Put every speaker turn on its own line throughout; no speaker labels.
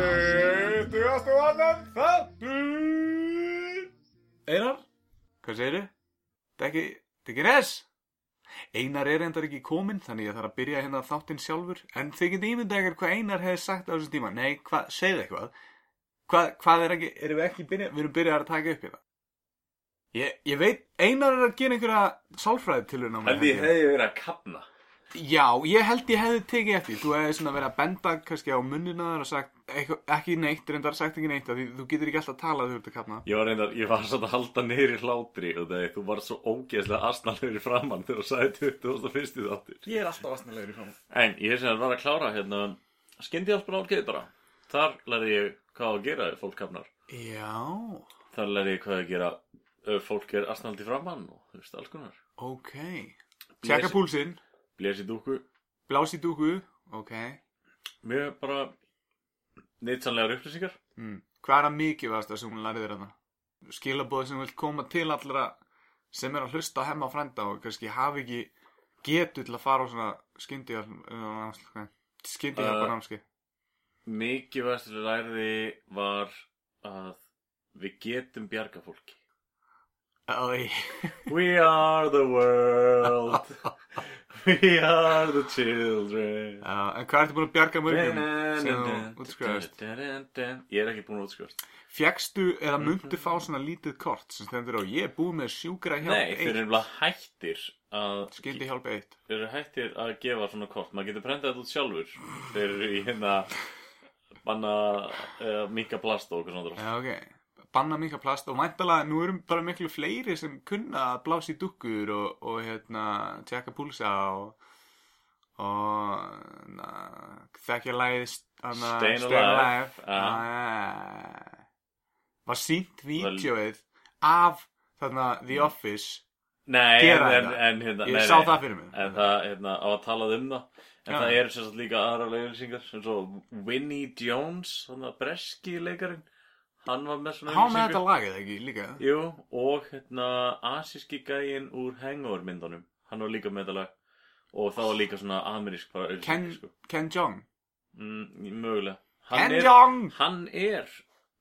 Tuttugast og annan þáttur Einar, hvað segirðu? Þetta er ekki, þetta er ekki res Einar er endar ekki kominn þannig ég þarf að byrja hérna þáttinn sjálfur en þið getið ímynda ekkert hvað Einar hefði sagt á þessum tíma Nei, hvað, segðu eitthvað Hvað, hvað er ekki, erum við ekki byrjað, við erum byrjað að taka upp hérna Ég, ég veit, Einar er að gera einhverja sálfræði til hún á
Held ég hefði verið að kapna
Já, ég held ég hefði tekið eftir Þú hefði svona verið að benda kannski á munnina þar og sagt eitthvað, ekki neitt, reyndar sagt ekki neitt af því þú getur ekki alltaf að tala þegar þú ert að kapna
Ég var reyndar, ég var svona að halda neyri hlátri og þegar þú varst svo ógeðslega asnalegur í framann þegar þú sagði 2001. þáttir
Ég er alltaf aðsnalegur í fram
En ég sem var að klára hérna skyndihjálpun árgeitara Þar lærði ég hvað á að gera ef fólk kapnar
Já,
Þar lærði ég hvað á að gera ef fólk er asnaldi framann og þú veist alls konar
ok Tjekka púlsinn,
Blés í dúku,
blás í dúku Ok
mjög bara neittsanlegar upplýsingar
mm. Hvað er að mikilvægast að sem hún lærið þér þarna? Skilabóð sem þú vilt koma til allra sem er að hlusta á hemma og frænda og kannski hafi ekki getu til að fara á svona eh, skyndi skyndi hjálpa
Uh,
námski
Mikið verðstu lærði var að við getum bjarga fólki We are the world We are the children
Já, en hvað ertu búin að bjarga mörgum sem þú útskrifaðist?
Ég er ekki búin að útskrifast
Fjækstu eða myndu
Mhm.
fá svona lítið kort sem stendur á ég er búið með sjúkra
Nei, þeir
hjálp
eru
1,
nefnilega hættir að
skildi hjálp 1.
Þeir eru hættir að gefa svona kort Maður getur prentað þetta út sjálfur Þeir eru í hérna Banna uh, minka plast og eitthvað svona
Já, ok. Banna mikla plast og mæntalega nú erum bara miklu fleiri sem kunna að blása í dukkur og, og hérna, tjekka púlsa og, og na, þekkja lagið
Stayin' Alive, já.
Ah, Já. Var sínt
Vel-
vídjóið af þarna The Office
Nei, en, en,
Gera þetta.
en hérna
Ég
nei,
sá
nei.
það fyrir mig.
En það, hérna, á að talað um það En
Já.
það eru sem sagt líka aðra leiðlýsingar Sem svo Winnie Jones Þannig að breski leikarinn Hann var með svona
Há með
auglýsingu.
þetta lagið ekki líka?
Jú, og hérna Asíski gæinn úr Hangover myndunum Hann var líka með þetta lag Og það var líka svona amerísk bara auglýsing,
Ken,
sko.
Ken Jong.
mm, Mögulega
Ken
er,
Jong!
hann er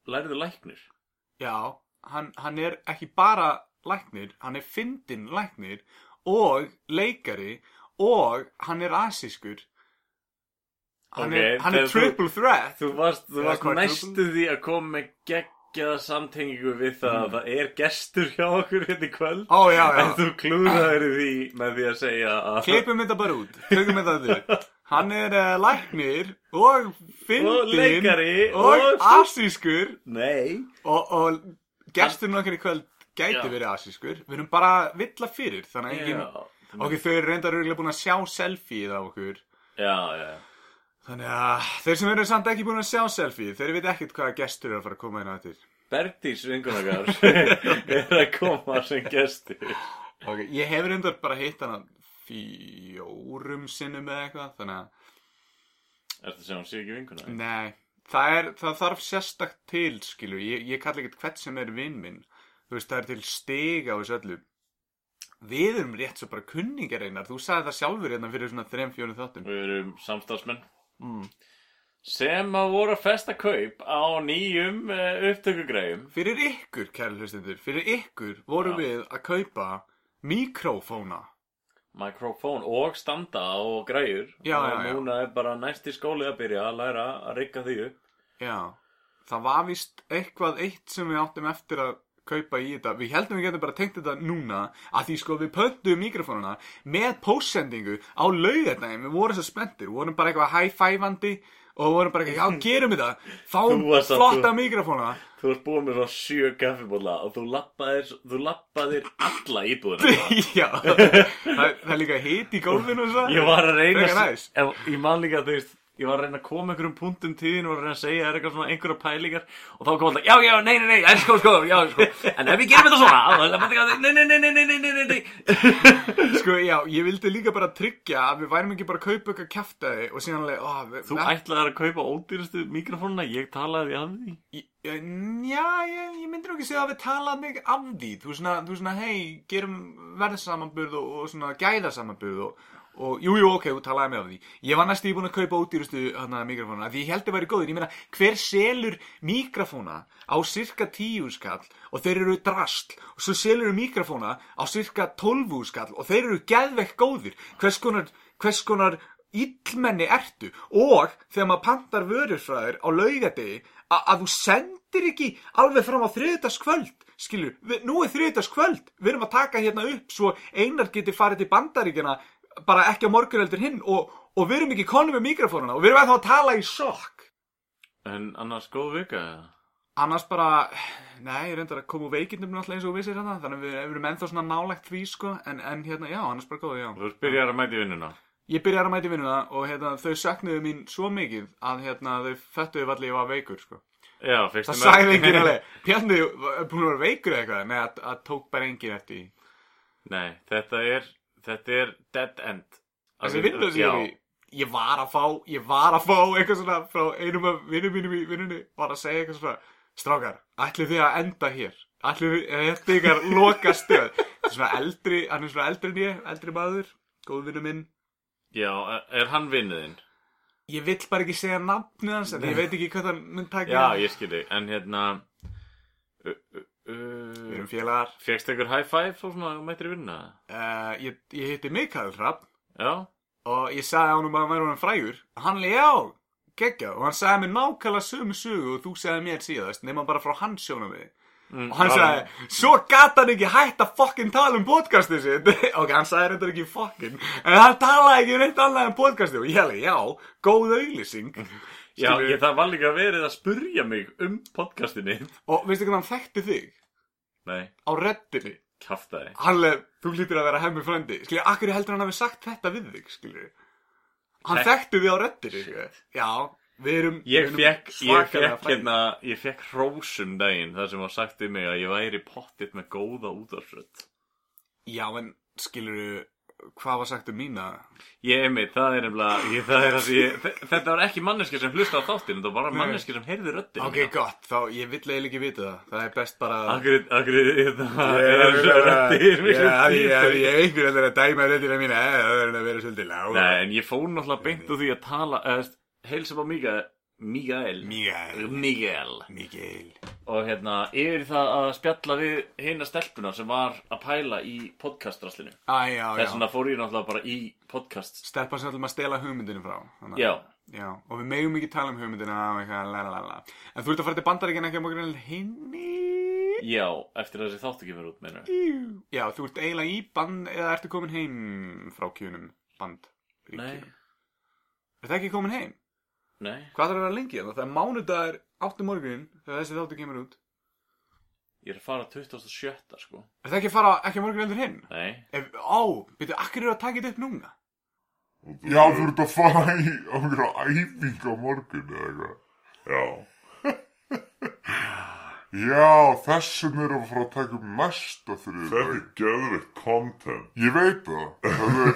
Lærðu læknir
Já, hann, hann er ekki bara læknir, hann er fyndin læknir og leikari og hann er asískur. Hann er,
Ok,
hann er
þegar þú-
triple threat.
Þú varst, þú
Eða
varst
quadruple.
næstu því að koma með geggjaða samtengingu við það
Mm.
að það er gestur hjá okkur hérna í kvöld
Ó, já, já.
En þú klúðaðir því með því að segja að
Kleipum þetta bara út, tökum þetta þig. Hann er uh, læknir og fyndin
Og leikari
og,
og-
asískur
Nei
og, og gesturinn okkar í kvöld gæti
Já.
verið asískur. Við erum bara að villa fyrir, þannig að enginn... Ok, þau eru reyndar örgulega búin að sjá selfieið af okkur.
Já, já, já
Þannig að þeir sem eru samt ekki búin að sjá selfie, þeir veit ekkert hvaða gestur eru að fara að koma hérna til.
Bertís vingunakar er að koma sem gestur
Ok, ég hef reyndar bara hitt hana fjórum sinnum eða eitthvað, þannig að,
Ertu að segja hún sé ekki vinkuna?
nei, það, er, það þarf sérstakt til, skilu, ég, ég kalla ekkert hvert sem er vinn minn, þú veist, það er til stiga á þessu öllu. Við erum rétt svo bara kunningar einar, þú sagði það sjálfur hérna fyrir svona þrem, fjórum þáttum.
Við erum samstarfsmenn
Mm.
sem að voru að festa kaup á nýjum uh, upptökugræjum
Fyrir ykkur, kæri hlustendur, fyrir ykkur vorum
Já.
við að kaupa mikrofóna.
mikrofón og standa og græjur
Já,
og
já, já.
núna er bara næsti skóli að byrja að læra að rikka því upp
Já, það var vist eitthvað eitt sem við áttum eftir að kaupa í þetta. Við heldum við getum bara tengt þetta núna að því sko við pöntum mikrofónuna með póstsendingu á laugardaginn. Við vorum svo spenntir, við vorum bara eitthvað high-fiveandi og við vorum bara eitthvað, já, gerum þetta, fáum
Þú varst að-
flotta mikrofónuna.
Þú ert búin með svona sjö kaffibóla og þú lappaðir, þú lappaðir alla íbúðina
já, það, það er líka hit í gólfinu og svo.
Ég var að reyna
Frekar næs.
en Ég man líka að þú veist ég var að reyna að koma einhverjum punktum tíðin og reyna að segja þér eitthvað svona einhverja pælingar og þá kom alltaf, já, já, nei, nei, nei, en sko, sko, já, sko, en ef við gerum þetta svona, þá er það bara, nei, nei, nei, nei, nei, nei, nei, nei, nei.
Sko, já, ég vildi líka bara tryggja að við værum ekki bara að kaupa eitthvað kæftæði og síðan alveg, ó, við...
Þú ætlaði að kaupa ódýrastu mikrofónuna, ég talaði af því.
Já, eh, ég, ég myndir ekki segja að við tala mikið af því. Þú svona, þú svona, hei, gerum verðsamanburð og, og svona gæðasamanburð og, og jú, jú, ok, þú talaði með af því. Ég var næstu búin að kaupa ódýrustu hana, mikrofónuna, því ég held að væri góður. Ég meina, hver selur mikrofóna á cirka tíu skall og þeir eru drastl og svo selur mikrofóna á cirka tólfu skall og þeir eru geðvekk góðir. Hvers konar, hvers konar illmenni ertu og þegar maður pantar vörurfræður á laugadegi a- að þú sendir ekki alveg fram á þriðutaskvöld skilur, við, nú er þriðutaskvöld við erum að taka hérna upp svo einar geti farið til bandaríkina bara ekki á morgun heldur hinn og, og við erum ekki konum með mikrofónuna og við erum eða að tala í sokk
En annars góð vika, eða?
annars bara, nei, reyndar að koma úr veikindum náttúrulega eins og þú vissir hérna þannig að við erum ennþá svona nálægt því sko en, en hérna, já, annars bara góðu, já
Þú byrjar að mæti vinnuna.
Ég byrjaði að mæta í vinnuna og hérna, þau söknuðu mín svo mikið að hérna, þau fættuðu allir ég var veikur sko.
Já, fyrstu
Það sagði enginn alveg, pjarnu, er búin að vera veikur eða eitthvað? Nei, að, að tók bara enginn eftir í.
Nei, þetta er, þetta er dead end.
Þessi vinnu sem ég er í, ég var að fá, ég var að fá eitthvað svona frá einum af vinnum mínum í vinnunni var að segja eitthvað svona, strákar, ætlið þið að enda hér? Ætlið þið, er þetta ykkar loka stöð? Þetta er svona eldri, hann er svona eldri en ég, eldri maður, góð vinnu minn.
Já, er hann vinnuðinn?
Ég vill bara ekki segja nafnið hans, en ég veit ekki hvað það mun taka.
Já, ég skilji, en hérna uh, uh,
Við
uh,
erum félagar.
Fjöxt einhver high five og svona mættir í vinna?
Uh, ég, ég hitti Mikael Rapp
Já,
og ég sagði ánum að hann væri honum frægur og hann leiði já, geggja og hann sagði mér nákvæmlega sömu sögu og þú sagði mér síðast nema bara frá hans sjónum við
mm,
og hann sagði, svo gata hann ekki hætt að fokkin tala um podcastið sitt ok, hann sagði þetta ekki fokkin en hann talaði ekki um neitt annað en podcastið og ég hefði, já, góð auglýsing
Já,
Skilur-
ég, það var líka verið að spurja mig um podcastinni
og veistu hvernig hann þekkti þig
Nei,
á reddinni
kjaftaði
hann leiði, þú lítur að vera hemmi frændi skilju, akkur heldur hann hafi sagt þetta við þig skilju, hann
Þek-
þekkti þig á reddinni skilju, já, við erum við
Ég
erum
fekk, ég
svakalega
fekk
frægir.
hérna, ég fekk hrósum daginn þar sem var sagt við mig að ég væri pottitt með góða útarsrödd
Já, en skilur hvað var sagt um mína?
Ég einmitt, það er nefnilega, ég, það er að ég, þe- þetta var ekki manneski sem hlusta á þáttinn, þetta var bara
Nei.
manneski sem heyrði röddinn.
Ok, gott, þá ég vill eiginlega ekki vita það Það er best bara að
Akkur, akkur, þetta
Ég
er röddir
ég-
miklu
ég-
dýpri.
ég- ég- einhver heldur að dæma röddina mína eh, Það verður að vera svolítið lág
Nei, en ég fór náttúrulega beint úr því að tala, eða, heilsa bara Mikael, Mikael,
Mikael
Mikael,
Mikael
og hérna, yfir í það að spjalla við hina stelpuna sem var að pæla í podcastraslinu.
Æ, já,
Þess
já
vegna fór ég náttúrulega bara í podcast.
Stelpan sem ætlum að stela hugmyndinu frá þannig að-
Já,
Já, og við megum ekki tala um hugmyndina og eitthvað, la la la la. En þú ert að fara til bandaríkjan ekki á morgun en henni?
já, eftir að þessi þáttu kemur út, meina.
Já, þú ert eiginlega í band eða ertu komin heim frá kjunum band?
Nei,
Ertu ekki komin heim?
nei,
Hvað þarf að vera lengi þannig? Það er mánudagur 8. morgun þegar þessi þáttu kemur út.
ég er að fara 27. sko.
Ertu ekki að fara ekki á morgun heldur hinn?
Nei,
Ef, á, byrju, akkur eru að taka þetta upp núna?
Já, þú ert að fara í okkur á æfing á morgun eða eitthvað. Já. Já, þessum erum við að fara að taka um næsta þriðið. Þetta er geðvitt content. Ég veit það. það er,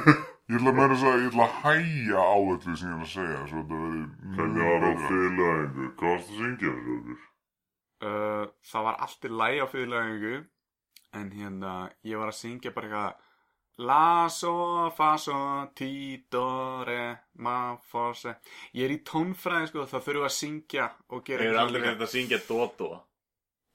ég ætla að meira að segja, ég ætla að hæja á öllu sem ég ætla að segja, svo þetta verði... Hvernig var á fyrirlæðingu? Hvað varst að syngja þessu okkur?
Uh, það var allt í læg á fyrirlæðingu en hérna, ég var að syngja bara eitthvað La so, fa so, ti do re, ma fo se Ég er í tónfræði sko, það þurfum við að syngja og
ég
gera
er
eitthvað
aldrei hérna.
svona-
hægt að syngja Dodo.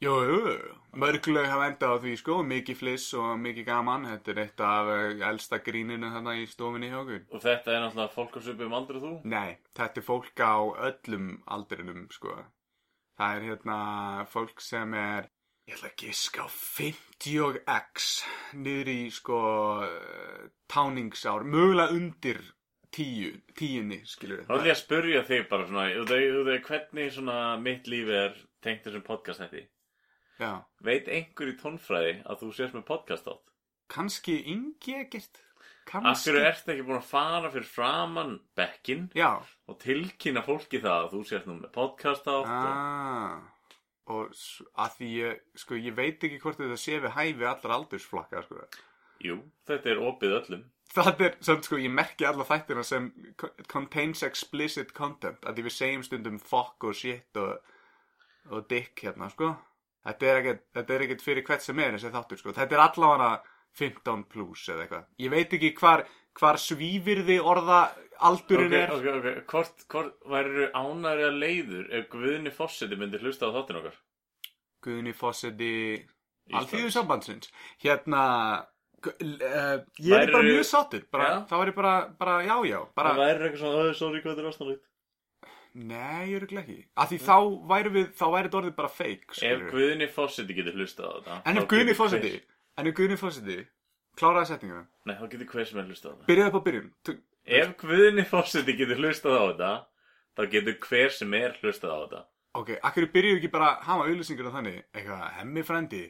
Jú, jú, jú. mörguleg hafa endað á því sko, mikið fliss og mikið gaman Þetta er eitt af eh, elsta gríninu þarna í stofinni hjá okkur
Og þetta er náttúrulega fólk á svipum aldrei þú.
Nei, þetta er fólk á öllum aldrinum, sko. Það er hérna fólk sem er, ég ætla að giska á 50 og x, niður í sko eh, táningsár, mögulega undir tíu, tíunni, skilur
Þá ætlum ég að spurja þig bara svona, þú veit- þú veit hvernig svona mitt lífi er tengt þessum podcast hætti.
Já,
Veit einhver í tónfræði að þú sést með podcast átt?
kannski yngi ekkert.
Af
kannski
hverju ertu ekki búin að fara fyrir framann bekkin
Já,
og tilkynna fólki það að þú sért nú með podcast átt og...
ah. og s- að því ég, sko, ég veit ekki hvort þetta sé við hæfi allar aldursflakka, sko
Jú, þetta er opið öllum.
Það er, samt sko, ég merki alla þættina sem co- contains explicit content að því við segjum stundum fuck og shit og, og dick hérna, sko Þetta er ekkert, þetta er ekkert fyrir hvert sem er þessi þáttur, sko Þetta er allavega 15 plus eða eitthvað Ég veit ekki hvar, hvar svífirði orða aldurinn
Ok,
er
ok, ok. Hvort, hvort væru ánæri að leiður ef Guðni Fossiti myndi hlusta á þáttin okkar?
Guðni Fossetti
Íslands.
Alþýðu sambandsins Hérna uh, Ég er
Værirðu-
bara mjög sáttur bara,
Já.
Þá er ég bara, bara já já bara,
Það væri eitthvað svona, "Ö, sorry, hvað þetta er ástæðanlegt?
Nei, ég er ekki ekki Af því þá væri við, þá væri þetta orðið bara fake
Ef
skilurðu.
Guðni Fossiti getur hlusta á þetta...
En
þá
ef Guðni
getur
fósiti
hver-
En ef Guðni fósiti Kláraði setninguna
Nei, þá getur hver sem er hlusta á þetta.
Byrjaði upp á byrjun Tök-
Ef Guðni Fossiti getur hlustað á þetta, þá getur hver sem er hlustað á þetta.
Ok, akkur byrjuðu ekki bara að hafa auðlýsinguna þannig Eitthvað, hemmi frendi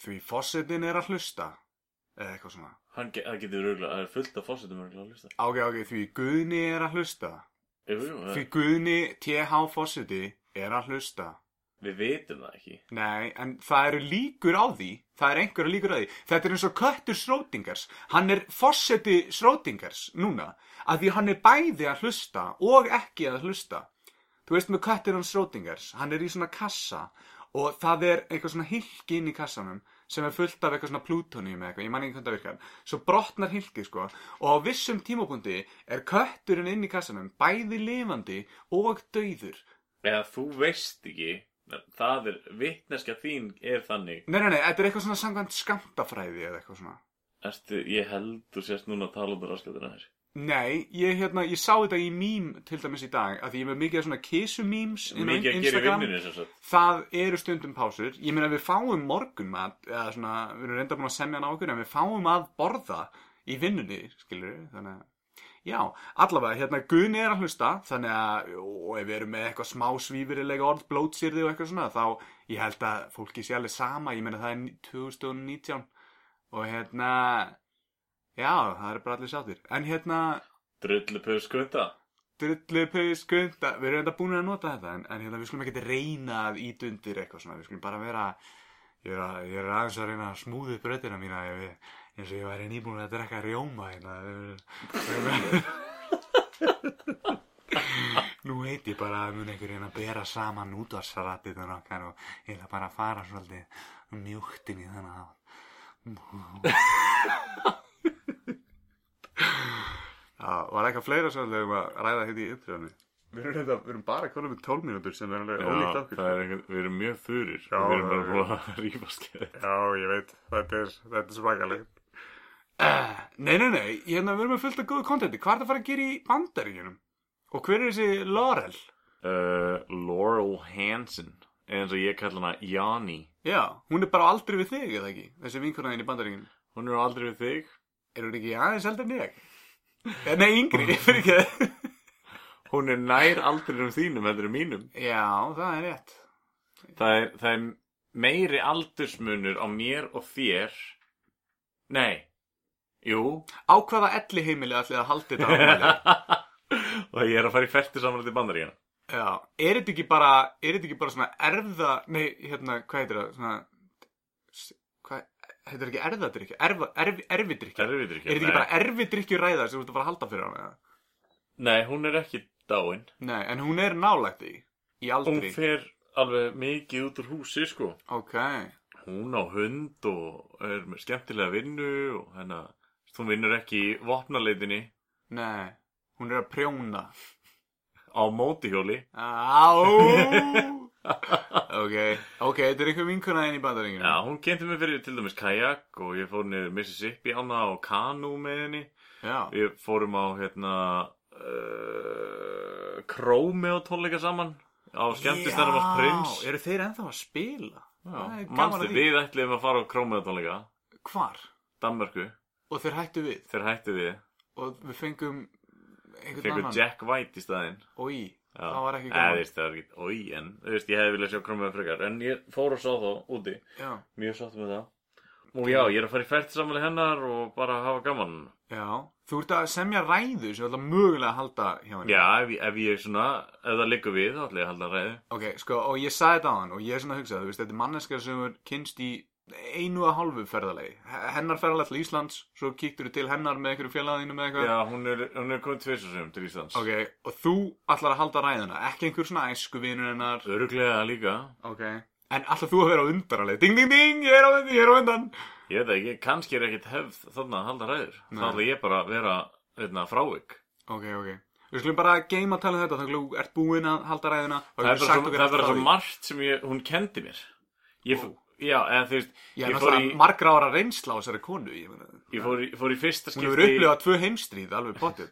Því fósitin er að hlusta Eða eitthvað svona
Hann ge það getur röglega, það er fullt af fósitum röglega að hlusta.
Ok, ok, því Guðni er að hlusta
Jú, jú, það-
Því Guðni TH fósiti er að hlusta
við vitum það ekki.
Nei, en það eru líkur á því Það eru einhverja líkur á því Þetta er eins og köttur Srótingars Hann er fosseti Srótingars núna að Því hann er bæði að hlusta Og ekki að hlusta Þú veist með köttur hans Srótingars Hann er í svona kassa Og það er eitthvað svona hilki inn í kassanum Sem er fullt af eitthvað svona plútoníum eða eitthvað Ég man ekki hvernig það virkar Svo brotnar hilkið sko Og á vissum tímapunkti er kötturinn inn í kassanum Bæði lifandi og dauður
Eða þú veist ekki, það er, vitneska þín er þannig.
Nei, nei, nei, þetta er eitthvað svona sangvænt skamtafræði eða eitthvað svona.
Ertu, ég held þú sérst núna að tala um það raskatina þér.
Nei, ég, hérna, ég sá þetta í mím til dæmis í dag, að því ég er með mikið af svona kisumíms inn á
Mikið að gera í
Instagram.
vinnunni sem sagt.
Það eru stundum pásur. Ég meina við fáum morgunmat, eða svona, við erum reynda búin að semja hann á okkur, en við fáum að borða í vinnunni, skilur við, þannig að... Já, allavega, hérna, Guðni er að hlusta, þannig að, og ef við erum með eitthvað smá svífurilega orð, blótsýrði og eitthvað svona, þá ég held að fólki sé alveg sama, ég meina það er 2019 og hérna, já, það er bara allir sáttir. En hérna,
Drullu pöskvönda.
drullupaus, kunda, við erum enda búin að nota þetta en, en hérna, við skulum ekkert reyna að ít undir eitthvað svona, við skulum bara vera ég er, að, ég er aðeins að reyna að smúðu bröðina mína ef ég, eins og ég væri nýbúin að drekka rjóma hérna Nú heit ég bara að mun einhver reyna að bera saman útvarsratið þannig okkar og ég ætla bara að fara svolítið mjúktin í þannig að Já, var eitthvað fleira sem við eigum að ræða hérna í upptröðunni? Við erum, þetta, við erum bara konum með 12 mínútur sem er alveg ólíkt okkur.
það er einhvern, við erum mjög þurir.
Já,
við erum
já,
bara
já.
búin að rífa skeið.
Já, ég veit, þetta er, þetta er svakalegt. nei, nei, nei, hérna við erum með fullt af góðu kontenti. Hvað er það að fara að gera í bandaríkjunum? Og hver er þessi Laurel?
Uh, Laurel Hansen, eða eins og ég kalla hana Jani.
Já, hún er bara á aldri við þig, eða ekki? Þessi vinkonaðin í bandaríkjunum.
Hún er aldrei við þig.
Er hún ekki aðeins eldar en ég? Eh, Nei, yngri, fyrir ekki.
Hún er nær aldrinum þínum, heldur en mínum.
Já, það er rétt.
það er, það er meiri aldursmunur á mér og þér Nei Jú
Á hvaða elli heimili ætlið að haldi þetta ámæli?
Og ég er að fara í ferti saman til bandaríkina
Já, er þetta ekki bara, er þetta ekki bara svona erða, nei, hérna, hvað heitir það, svona, s- hvað, heitir það ekki erðadrykja, erfa, erfi, erfidrykja?
Erfiðdrykkja,
Er þetta
nei.
ekki bara erfidrykju ræða sem þú ert að fara að halda fyrir hana? eða?
Nei, hún er ekki dáin
Nei, en hún er nálægt í, í
Hún
aldri.
fer alveg mikið út úr húsi sko
Ok,
Hún á hund og er með skemmtilega vinnu og hennar Hún vinnur ekki í vopnaleitinni
nei, hún er að prjóna.
á mótihjóli
Á, ok, ok, þetta er einhver vinkuna inn í bandaringinu.
Já, hún kynnti mig fyrir til dæmis kajak og ég fór niður Mississippi ána og kanú með henni
Já,
Við fórum á hérna uh, Krómi á tónleika saman á skemmtistæðum á Prins
Já, eru þeir ennþá að spila? Það er gaman að
Manstu,
því.
við ætlum að fara á Krómi á tónleika
Hvar?
Danmörku,
Og þeir hættu við?
þegar hættu við
og við fengum einhvern
Fekkur
annan
Jack White í staðinn
og í,
Já.
það var ekki
Nei, þú
gaman
veist, það var ekki, oi, en þú veist, ég hefði viljað sjá Krómi á frekar En ég fór og sá þá úti,
já.
mjög sátt með það Og já, ég er að fara í fært samanlega hennar og bara hafa gaman
Já, þú ert að semja ræðu sem þú ætla mögulega að halda hjá henni.
Já, ef, ég- ef ég svona, ef það liggur við, þá ætla ég að halda ræðu.
Ok, sko, og ég sagði þetta á hann og ég er svona að hugsa, þú veist, þetta er manneska sem er kynst í einu að hálfu ferðalegi. H- Hennar ferðalegi til Íslands, svo kíktur þú til hennar með einhverju félaginu með eitthvað.
Já, hún er, hún er komið tvisasum til Íslands.
Ok, og þú ætlar að halda ræðuna, ekki einhver svona æsku vinur hennar.
Öruglega líka.
Ok. En ætlar þú að vera á undaralegi? Ding, ding, ding, ég er á undan, ég er á undan.
Ég veit það ekki, kannski er ekkit hefð þarna að halda ræður. Þá
Nei.
ætla ég bara að vera, veitna, frávik.
Ok, ok. Við skulum bara geima að tala um þetta, þannig að þú ert búinn að halda ræðuna. og
Það er
getur
bara
sagt
svo,
okkur
það er
allt
bara
frá
svo
því.
margt sem ég, hún kendi mér. Ég, f-
Ó.
já, eða þú veist,
Já,
ég fór í,
náttúrulega margra ára reynsla á þessari konu, ég meina.
ég fór í, fór í fyrsta
Hún hefur
skipti,
upplifað tvö heimstríð, alveg potið.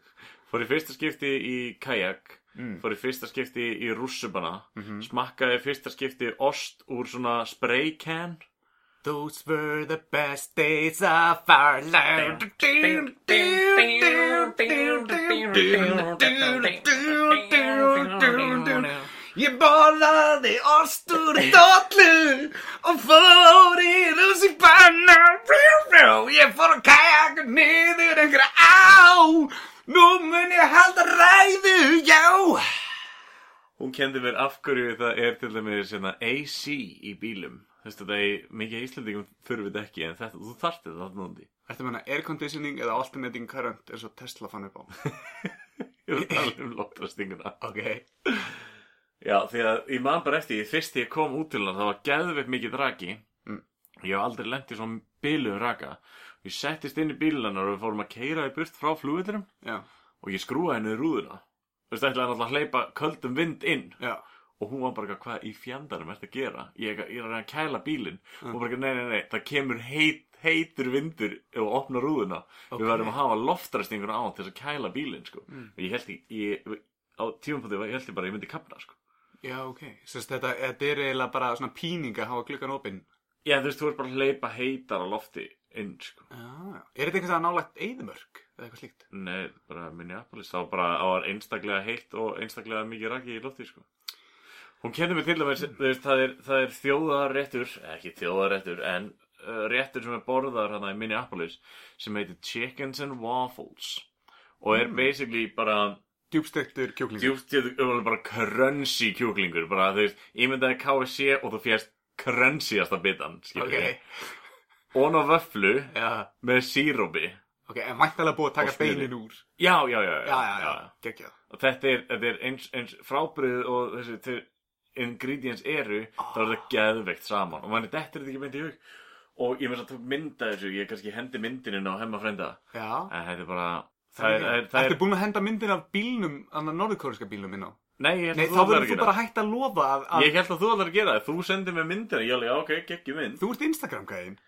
fór í fyrsta skipti í kajak,
Mm.
fór í fyrsta skipti í rússubana,
Mhm.
smakkaði í fyrsta skipti ost úr svona spray can.
Those were the best days of our life. Ég borðaði ostur í dollu og fór í rússipanna. Ég fór á kajak og niður einhverja á. Nú mun ég halda ræðu, já.
Hún kendi mér af hverju það er til dæmis hérna, AC í bílum. Þú veist þetta er mikið af íslendingum þurfið þetta ekki en þetta, þú þarft þetta þarna úndi.
Ertu að menna air conditioning eða alternating current eins og Tesla fann upp á?
Ég vil tala um loftrastinguna.
Ok.
Já, því að ég man bara eftir, því, fyrst þegar ég kom út til hann, það var geðveitt mikið raki.
Mm.
Ég hef aldrei lent í svona bíluðum raka. Ég settist inn í bílun og við fórum að keira í burt frá flugvillurum
Já,
og ég skrúaði henni rúðuna. Þú veist, ætlaði hann alltaf að hleypa köldum vind inn
já.
og hún var bara eitthvað, hvað í fjandarum ert að gera? Ég, ég er að reyna að kæla bílinn
Ah.
og bara, eitthvað, nei, nei, nei, það kemur heit, heitur vindur og opna rúðuna.
Ok.
Við verðum að hafa loftrastinguna á til þess að kæla bílinn, sko.
Mm.
Ég held ég, ég, á tímapunkti, ég held ég bara, að ég myndi kapna, sko.
Já, ok. Sérst þetta, þetta er eiginlega bara svona píning að hafa glukkan opinn.
Já, þú veist, þú ert bara að hleypa heitar á lofti inn, sko.
Já, já. Er þetta einhvers að nálægt eðimörk eða eitthvað slíkt?
Nei, bara Minneapolis, þá bara á var einstaklega heitt og einstaklega mikið raki í lofti, sko. Hún kennir mig til dæmis, þú veist, það er, það er þjóðaréttur, eh, ekki þjóðaréttur, en uh, réttur sem er borðar hann í Minneapolis sem heitir Chickens and Waffles og er
Mm.
basically bara
Djúbstektur kjúklingur.
djúpt, ég var bara crunchy kjúklingur, bara þú veist, ímyndaði KFC og þú fjast crunchiasta bitan, skilur
Ok,
Ón á vöflu
já.
með sírópi.
Ok, en væntalega búið að
Og
taka
smjöri.
beinin úr.
Já, já, já, já,
Já, já, já. Gekkjað.
Og þetta er, þetta er eins, eins frábrið og þessi þeir ingredients eru,
Ah.
þá er þetta geðveikt saman. Og manni, þetta er þetta ekki myndið í hug. Og ég með þess að tók mynda þessu, ég kannski hendi myndininn á hemma frenda.
Já.
En þetta er bara, það er, það er, það
Ah. Ertu
er,
búin að henda myndin af bílnum, annar norðkóriska bílnum inn á?
nei, ég held
Nei,
að þú
þá
ætlar
verður
að
þú
gera.
bara hægt að lofa að, að
Ég held að þú ætlar að gera það, þú sendir mér myndina, ég alveg, já, ok, geggjum mynd.
þú ert Instagram-gæðin.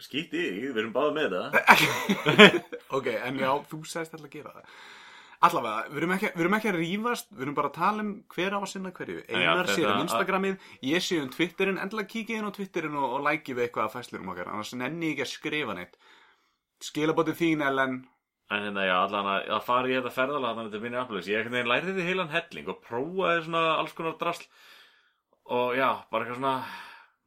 Skýtt í, þig, við erum báðið með það.
ok, en já, þú sagðist alltaf að gera það. Allavega, við erum, ekki, við erum ekki að rífast, við erum bara að tala um hver á að sinna hverju. Einar
þetta-
sér um Instagramið, ég sé um Twitterin, endilega kíkið inn á Twitterin og, og lækið við eitthvað að fæslurum okkar, annars nenni ég ekki að skrifa neitt. Skilabótið þín, Ellen,
En hérna, já, allan að, að fara í þetta ferðalega þannig til minni aflöðis. Ég einhvern veginn læriði því heilan helling og prófaði svona alls konar drasl. Og já, bara eitthvað svona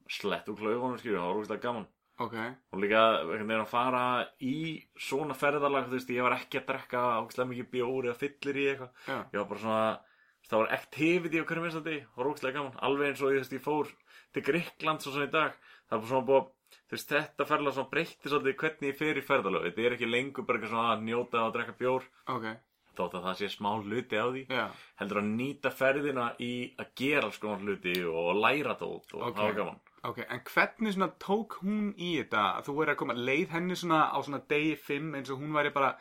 slett úr klaufunum, skilju, það var rúkislega gaman.
ok,
Og líka einhvern veginn að fara í svona ferðalag, þú veist, ég var ekki að drekka ógstlega mikið bjóri eða fyllir í eitthvað.
já,
Ég var bara svona, þú veist, það var activity á hverjum einstandi, það var rúkislega gaman. Alveg eins og ég, þú veist, ég fór til Gríkland svo svona í dag. Það var bara svona búið, að- þú veist, þetta ferðalag svona breytti svolítið hvernig ég fer í ferðalag. Þetta er ekki lengur bara eitthvað svona að njóta og drekka bjór
ok,
þótt að það sé smá hluti á því
já,
heldur að nýta ferðina í að gera alls konar hluti og læra dót og
Ok.
hafa gaman
ok. En hvernig svona tók hún í þetta að þú verið að koma, leið henni svona á svona degi 5 eins og hún væri bara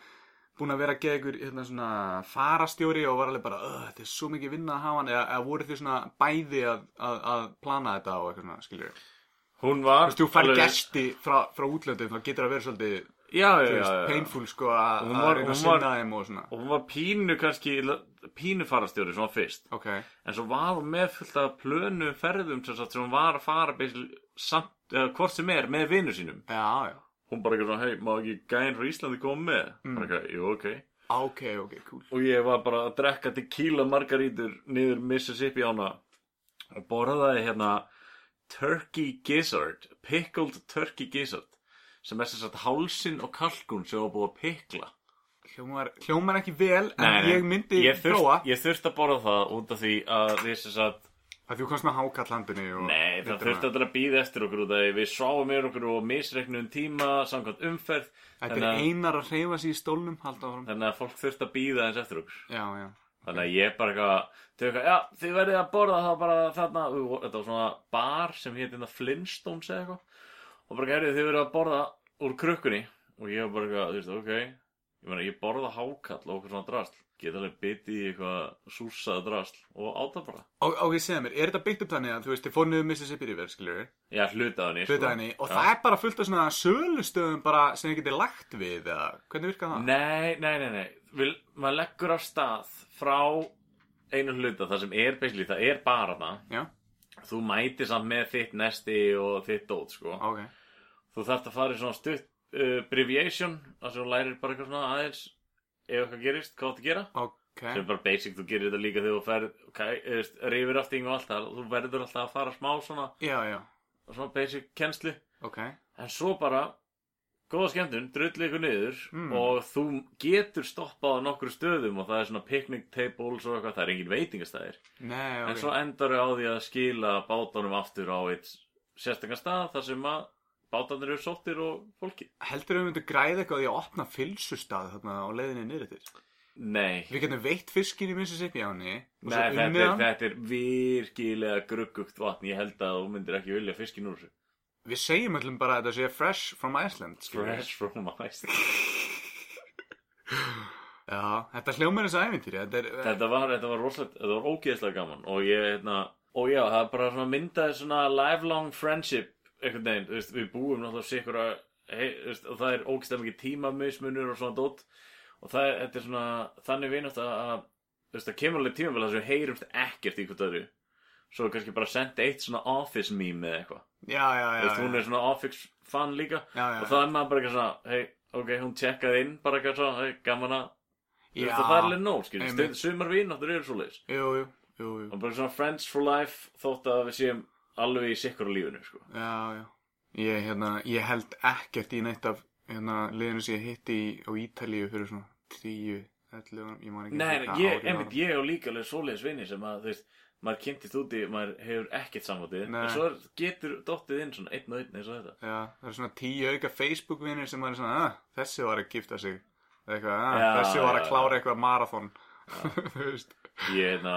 búin að vera að geða ykkur hérna, svona farastjóri og var alveg bara, "Ugh, þetta er svo mikið vinna að hafa hann eða, eða voru þið svona bæði að, að, að plana þetta og eitthvað svona, skiljur þú
hún var
veist, þú fær gesti frá, frá útlöndum þá getur það verið svolítið
já, já,
þú
já,
veist,
já.
painful sko að
Hún
að
var-
reyna að
hún var-
sinna þeim og svona
og hún var pínu kannski pínu farastjóri svona fyrst
ok,
en svo var hún með fullt af plönu ferðum sem, sagt, sem hún var að fara basically samt, eða, hvort sem er með vinnu sínum
já, já
hún bara eitthvað svona, hei, má ekki gæðin frá Íslandi koma með
Mm.
bara eitthvað, jú, ok
Ah, ok, ok, cool
og ég var bara að drekka tequila margarítur niður Mississippi ána og borðaði hérna turkey gizzard pickled turkey gizzard sem er sem sagt hálsin og kalkun sem var búið að pikla
hljómar, hljómar ekki vel en
Nei, nei.
ég myndi
ég þurft,
þróa
Ég þurft að borða það út af því að við sem sagt
að þú komst með hákallandinu og
Nei, það
Veitir
þurfti alltaf að býða eftir okkur út af því við sváum yfir okkur og misreiknum tíma samkvæmt umferð
Þetta
þannig
er
að-
einar að hreyfa sig í stólnum halda áfram
þannig að fólk þurfti að býða eins eftir okkur
Já, já
þannig að ég bara eitthvað þau eitthvað, já, þið verðið að borða það bara þarna og þetta var svona bar sem hétt hérna Flintstones eða eitthvað og bara gerðið þið verðið að borða úr krukkunni og ég var bara eitthvað, þú veist, ok ég meina, ég borða hákall og okkur svona drasl geta alveg bitið í eitthvað súsað drasl og áta bara
Og, og ég segja mér, er þetta byggt upp þannig að þú veist, þið fór niður Mississippi River, skiljur
já, hlutaðan ég
Hlutaðinni, og
sko. Já.
það er bara fullt af svona sölustöðum bara sem þið getið lagt við eða, hvernig virkar það?
Nei, nei, nei, nei. Vil, maður leggur af stað frá einu hluta, það sem er beisli, það er bara það.
Já,
Þú mætir samt með þitt nesti og þitt dót, sko.
ok
Þú þarft að fara í svona stutt uh, abbreviation, þar sem þú lærir bara eitthvað svona aðeins ef eitthvað gerist, hvað áttu að gera.
Ok,
Sem er bara basic, þú gerir þetta líka þegar þú ferð, okay, rifir afting og allt það, þú verður alltaf að fara smá svona,
já, já,
svona basic kennslu.
ok
En svo bara, góða skemmtun, drullu ykkur niður
Mm.
og þú getur stoppað á nokkru stöðum og það er svona picnic tables og eitthvað, það er engin veitingastæðir.
Nei,
En svo
ok,
endar þau á því að skila bátunum aftur á eitt sérstakar stað þar sem að bátarnir eru sóttir og fólki.
heldur við myndum græða eitthvað á því að opna fylsustað þarna á leiðinni niður
Sko,
eftir
Nei,
Við getum veitt fiskin í Mississippi áni
Nei þetta, er, þetta er virkilega gruggugt vatn, ég held að þú myndir ekki vilja fiskin úr þessu.
Við segjum öllum bara að þetta sé fresh from Iceland skilur við.
Fresh from ice.
Já, þetta hljómar eins og ævintýri Þetta er,
þetta var, þetta var rosalegt, þetta var ógeðslega gaman og ég, hérna, og já, það er bara svona myndaði svona lifelong friendship einhvern veginn, þú veist, við búum náttúrulega sikur að, hei, þú veist, og það er ógeðslega mikið tímamismunur og svona dótt og það, er- þetta er svona, þannig vinast að, að þú veist, það kemur alveg tíma vel að við heyrumst ekkert í hvort öðru svo er kannski bara senda eitt svona office meme eða eitthvað,
Já, já, já,
þú veist, hún
já,
er svona office fan líka
já, já.
og það er maður bara eitthvað svona, hei, ok, hún tjekkaði inn bara eitthvað svona, hei, gaman að Þú veist, það er alveg nóg, skiljum,
Einmitt.
stund, sumar vináttur eru svo leiðis.
Jú, jú, jú, jú.
Og bara svona friends for life þótt að við séum alveg í sikkur á lífinu, sko.
Já, já. Ég, hérna, ég held ekkert í neitt af hérna, liðinu sem ég hitti í, á Ítalíu fyrir svona 10, 11, árum, ég man ekki
Nei, nei,
eftir hvað
ég,
ár var.
einmitt, ég og líka alveg svo leiðis vini sem að, þú veist, maður kynntist úti, maður hefur ekkert samvætið,
Nei.
en svo er- getur dottið inn svona einn og einn eins og þetta.
Já, það eru svona 10 auka Facebook-vinir sem maður er svona, að, þessi var að gifta sig. Eða Eitthvað, að,
Já,
þessi var
já,
að
já.
klára eitthvað marathon. Þú veist.
Ég, hérna,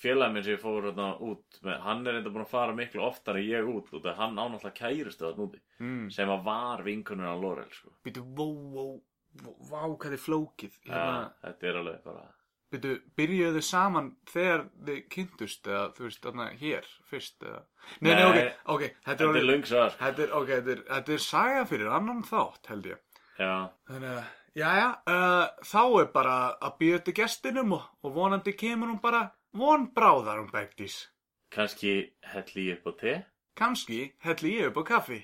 félagin minn sem ég fór hérna út með, hann er enda búin að fara miklu oftar en ég út, út að hann ánáttúrulega kæristu þarna úti,
Mm.
sem að var vinkunir á Lorel, sko.
Býtu, vó, vó, vó, vá, hvað þið flókið. Hérna,
Ja, þetta er alveg bara...
Býtu, byrjuðu þið saman þegar þið kynntust eða, þú veist, þarna hér, fyrst eða... Nei, nei,
Nei.
ok, ok, þetta er
Þetta er
orðið...
löng sko. svar,
Þetta er, ok, þetta er, þetta er saga fyrir annan þátt, held ég.
já.
Þannig að, jæja, uh, þá er bara að býða til gestinum og, og vonandi kemur hún bara von bráðar um Begdís.
Kanski helli ég upp á te?
Kanski helli ég upp á kaffi.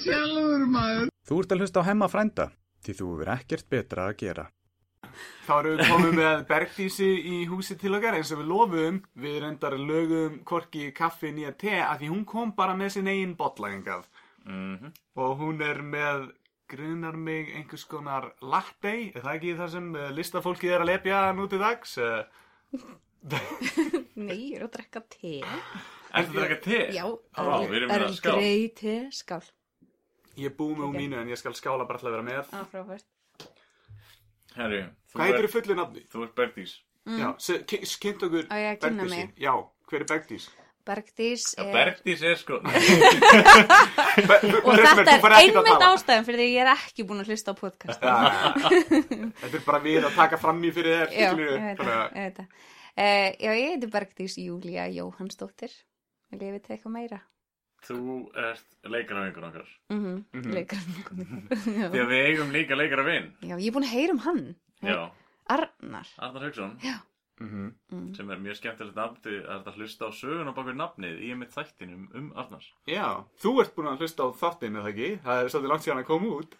Þú ert að hlusta á hemma frænda, því þú verð ekkert betra að gera. Þá erum við komið með Bergdísi í húsi til okkar eins og við lofum. Við reyndar lögum korki kaffi nýja te af því hún kom bara með sinn eigin botlagingað.
Mm -hmm.
Og hún er með, grunar mig, einhvers konar latte, er það ekki það sem eh, listafólkið er að lepja nú til dags? Eh,
Nei, ég er að drekka te.
Ertu að drekka te?
Já,
Vá, við erum
er
með skál.
grei te, skál.
Ég búi með úr
Ok.
mínu en ég skal skála bara til að vera með.
Á, frábært.
Herri, þú
Hvað
er,
heitir þú fullu nafni?
þú er Bergdís.
Já, se- ki- kynnt okkur
Mm. Á ég að kynna
Bergdísi.
mig?
Já, hver er Bergdís?
Bergdís
Já,
er...
Bergdís er sko...
Og þetta er einmitt ástæðan fyrir því ég er ekki búin að hlusta á podcast.
Þetta er bara við að taka fram í fyrir þér.
Já, ég
skilurðu,
veit það,
þannig
ég veit það. Uh, já, ég heiti Bergdís Júlia Jóhannsdóttir. Vil ég vita eitthvað meira?
þú ert leikara vingur okkar.
Mm -hmm. Mm
Mhm.
-hmm.
Því að við eigum líka leikara vin.
Já, ég er búin að heyra um hann.
Já,
Arnar.
Arnar Hauksson,
að- Mhm.
Mm.
sem er mjög skemmtilegt nafn til að þetta hlusta á söguna bakur nafnið í einmitt þættinum um Arnar.
Já, þú ert búin að hlusta á þáttinn, eða ekki? Það er svolítið langt síðan að koma út.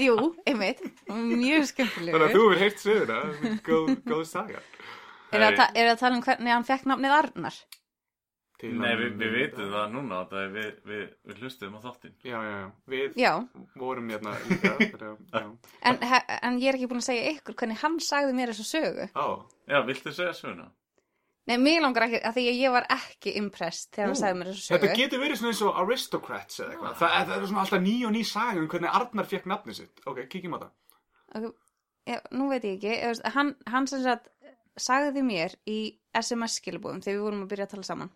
Jú, einmitt. Mjög skemmtilegur.
Þannig að þú hefur heyrt söguna. Góð, góð saga.
Er það að tala um hvernig hann fekk nafnið Arnar?
til
Nei,
að
við, við
mynda-
vitum það núna að það er- við, við, við hlustum á þáttinn.
Já, já, já, við
Já,
vorum hérna líka fyrir að, já
en, he- en ég er ekki búin að segja ykkur hvernig hann sagði mér þessa sögu.
Á,
Já, viltu segja söguna?
Nei, mig langar ekki, að því að ég var ekki impressed þegar hann
Ú,
sagði mér þessa sögu.
þetta getur verið svona eins og Aristocrats eða eitthvað Þa, Það eru svona alltaf ný og ný saga um hvernig Arnar fekk nafnið sitt Ok, kíkjum á það
Ok, já, nú veit ég ekki, ég veist, hann, hann sem sagt sagði mér í SMS skilabóðum þegar við vorum að byrja að tala saman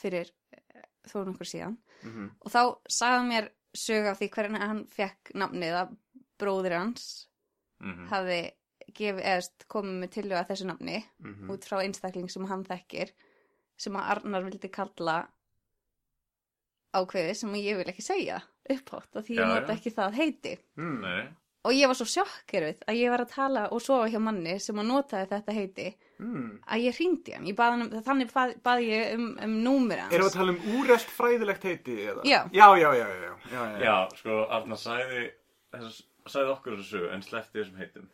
fyrir eh, þó nokkur síðan
Mhm.
og þá sagði hann mér sög af því hvernig hann fekk nafnið að bróðir hans
Mm -hmm.
hafði gefið, eðst, komið með tilhjóða þessu nafni
Mhm.
út frá einstakling sem hann þekkir sem að Arnar vildi kalla ákveði sem ég vil ekki segja upphátt af því ég
Já,
nota
já.
ekki það heiti
Mm.
Nei,
og ég var svo sjokkeruð að ég var að tala og sofa hjá manni sem að notaði þetta heiti
Mm.
að ég hringdi hann, ég bað hann um, þannig bað, bað ég um, um númur hans
Erum við að tala um úrelt fræðilegt heiti eða?
Já.
Já, já, já, já, já, já, já.
já, sko, Arna sagði, þessa, sagði okkur þessu sögu en sleppti þessum heitum.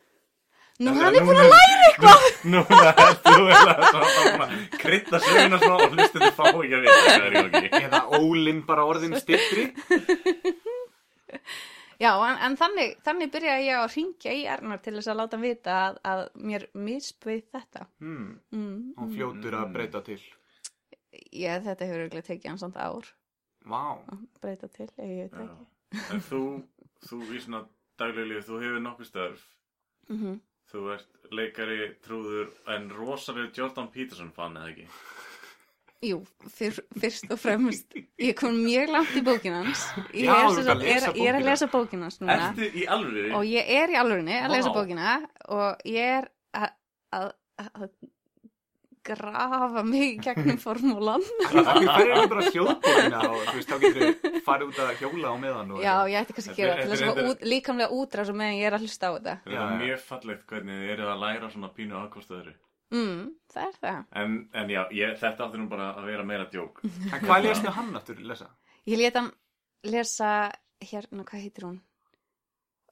Nú hann er búin
að læra eitthvað! Núna ertu vel að svona, svona krytta söguna svona og hlustu fá ekki að vita hvað er í gangi.
Eða ólinn bara orðin stittri
Já, en, en þannig, þannig byrjaði ég að hringja í Arnar til þess að láta hann vita að, að mér misbauð þetta
mm.
mm.
Og fljótur að breyta til
Já, þetta hefur auðvitað tekið hann samt ár
Vá
að breyta til, ég veit
Já.
ekki
En þú, þú í svona dagleglífi, þú hefur nokkuð störf.
mm -hmm.
Þú ert leikari, trúður, en rosalega Jordan Peterson fann eða ekki?
Jú, fyr, fyrst og fremst ég kom mjög langt í bókin hans Ég,
Já,
er,
þú
sem
ert að
sagt-
lesa
er, ég er
bókina.
að lesa bókin hans núna
Ertu í alveg?
og ég er í alvörinni að lesa
Vá.
bókina og ég er að, að, að grafa mig í gegnum formúlan
Það er ekki bara hljóðbúrina og þú veist, þá getur farið út að hjóla á meðan og
já, ég ætti kannski að
Þetta er-
gera það til
þetta
þess
er-
að fá út, líkamlega útrás og meðan ég er að hlusta á þetta
Það er
Já, já.
mjög fallegt hvernig þið eru að læra svona pínu aðkost öðru.
mm, það er það
En, en já, ég, þetta átti nú bara að vera meira djók.
Mhm.
En hvað lestu hann aftur lesa?
ég leta hann lesa hérna, hvað heitir hún?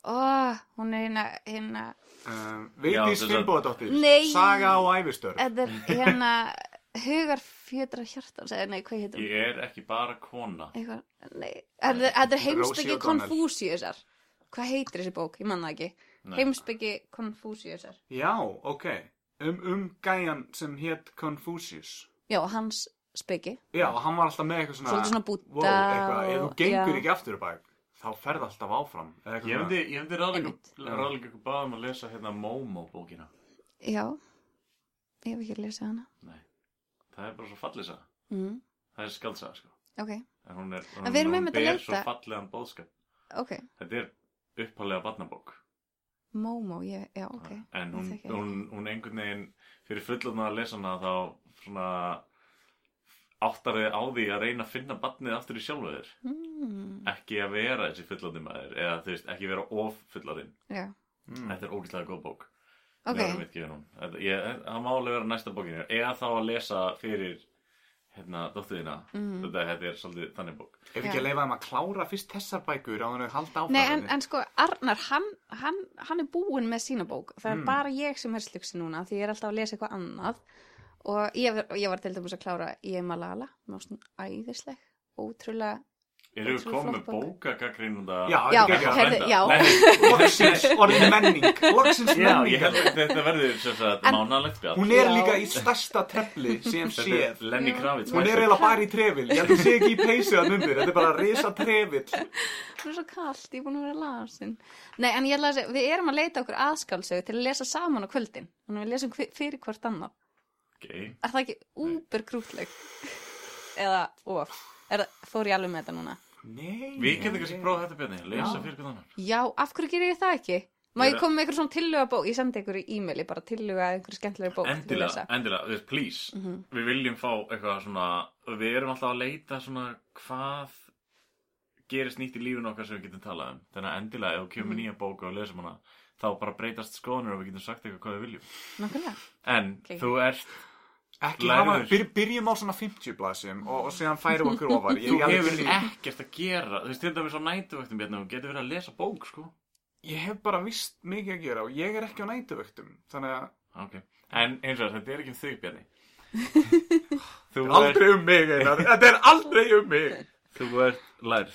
Ó, hún er hérna, hérna
Um,
Já,
Vigdís
þess að-
Finnbóðadóttir
Nei.
Saga og æfistör
þetta er hérna hugarfjötra hjartans, eða nei, hvað heitir hún?
Ég er ekki bara kona.
Eitthvað, nei, þetta er- þetta er heimsbyggi
O'Donnell.
konfúsiusar. Hvað heitir þessi bók? Ég manna ekki.
Nei.
Heimsbyggi konfúsiusar.
Já, ok Um, um gæjan sem hétt Confucius
Já, hans spyggi.
Já, og hann var alltaf með eitthvað svona
Svolítið svona búdda
wow, eitthvað, Ef þú
og-
gengur
já.
ekki aftur á bak Þá ferð alltaf áfram eða eitthvað
Ég
svona.
myndi, ég myndi ráðleika
Einmitt.
ráðleika ykkur báðum að lesa hérna Momo bókina.
Já, ég hef ekki lesið hana.
Nei, það er bara svo fallisa.
Mm.
Það er skaldsaga, sko.
Ok,
En hún er,
En við erum
hún
einmitt
ber
að leita.
svo fallegan bóðskap.
ok.
Þetta er upphaldega barnabók.
Momo, ég, já, ok.
en hún,
Ég þekki hana.
hún, hún einhvern veginn fyrir fullorðna að lesa hana þá svona áttar þið á því að reyna að finna barnið aftur í sjálfu þér
Mm,
ekki að vera þessi fullorðni maður eða þú veist, ekki vera of fullorðin
já,
mm.
þetta er ógæslega góð bók
ok.
Við erum ekki við hún. Þetta- ég- það má alveg vera næsta bókinu eða þá að lesa fyrir hérna, dóttuðina
Mm.
þetta, þetta er svolítið þannig bók
Ef ekki
Já.
að leifa þeim að klára fyrst þessar bækur á þannig að halda áfram
Nei, en, en sko, Arnar, hann, hann, hann er búinn með sína bók. Það er
Mm.
bara ég sem er slugsi núna því ég er alltaf að lesa eitthvað annað. Og ég, var- ég var til dæmis að klára í Malala. Mér var svona æðisleg, ótrúlega
Erum við
Ótrúlega
komið með
flott bók.
bókagagrínunda?
Já,
Já,
þetta er ekki að
heyrðu,
frænda.
já.
Nei,
Loksins orðin menning Loksins
já, ég
menningar
held að þetta verður sem sagt
En-
mánalegt bjall
Hún er
Já.
líka í stærsta trefli sem
Þetta
séð
er Lenny Kravitz
Hún er
mætir.
eiginlega bara í trefil, ég held að hún sé ekki í peysu að undir, þetta er bara risa trefil.
Það er svo kallt, ég er búin að vera lasin. Nei, en ég ætla að segja, við erum að leita okkur aðskálsögu til að lesa saman á kvöldin. Þannig að við lesum hvi- fyrir hvort annað.
okay.
Er það ekki
Mm.
úber grútleg? Eða, of, er, það- fór ég alveg með þetta núna?
Nei.
Við getum kannski prófað þetta Bjarni, lesa
Já.
fyrir hvernig annar
Já, af hverju gerir ég það ekki? Má
Ég
ég
er-
koma með einhver svona tilluga bók? Ég sendi ykkur í e-maili bara tilluga að einhver skemmtilega bók til að
Endilega,
lesa.
endilega, við, please
Mhm.
Við viljum fá eitthvað svona Við erum alltaf að leita svona hvað gerist nýtt í lífinu okkar sem við getum talað um Þannig að endilega, ef við
Mhm.
kemur mm. nýja bóka og lesum hana þá bara breytast skoðanir og við getum sagt eitthvað hvað við viljum
Nákvæmlega.
En
Ok.
þú ert,
Ekki
Lærður.
hafa, byr, byrjum á svona 50 blasum og, og séðan færum okkur ofar. Ég,
þú
ég,
hefur
ég,
ekkert að gera Þú veist, til dæmis á nætuvöktum Bjarni, þú getur verið að lesa bók, sko
ég hef bara vist mikið að gera og ég er ekki á nætuvöktum. Þannig að,
Ah, Ok, en eins og þess, þetta er ekki um þau Bjarni Þú ert,
Aldrei um mig, Einar. Þetta er aldrei um mig.
þú ert lærð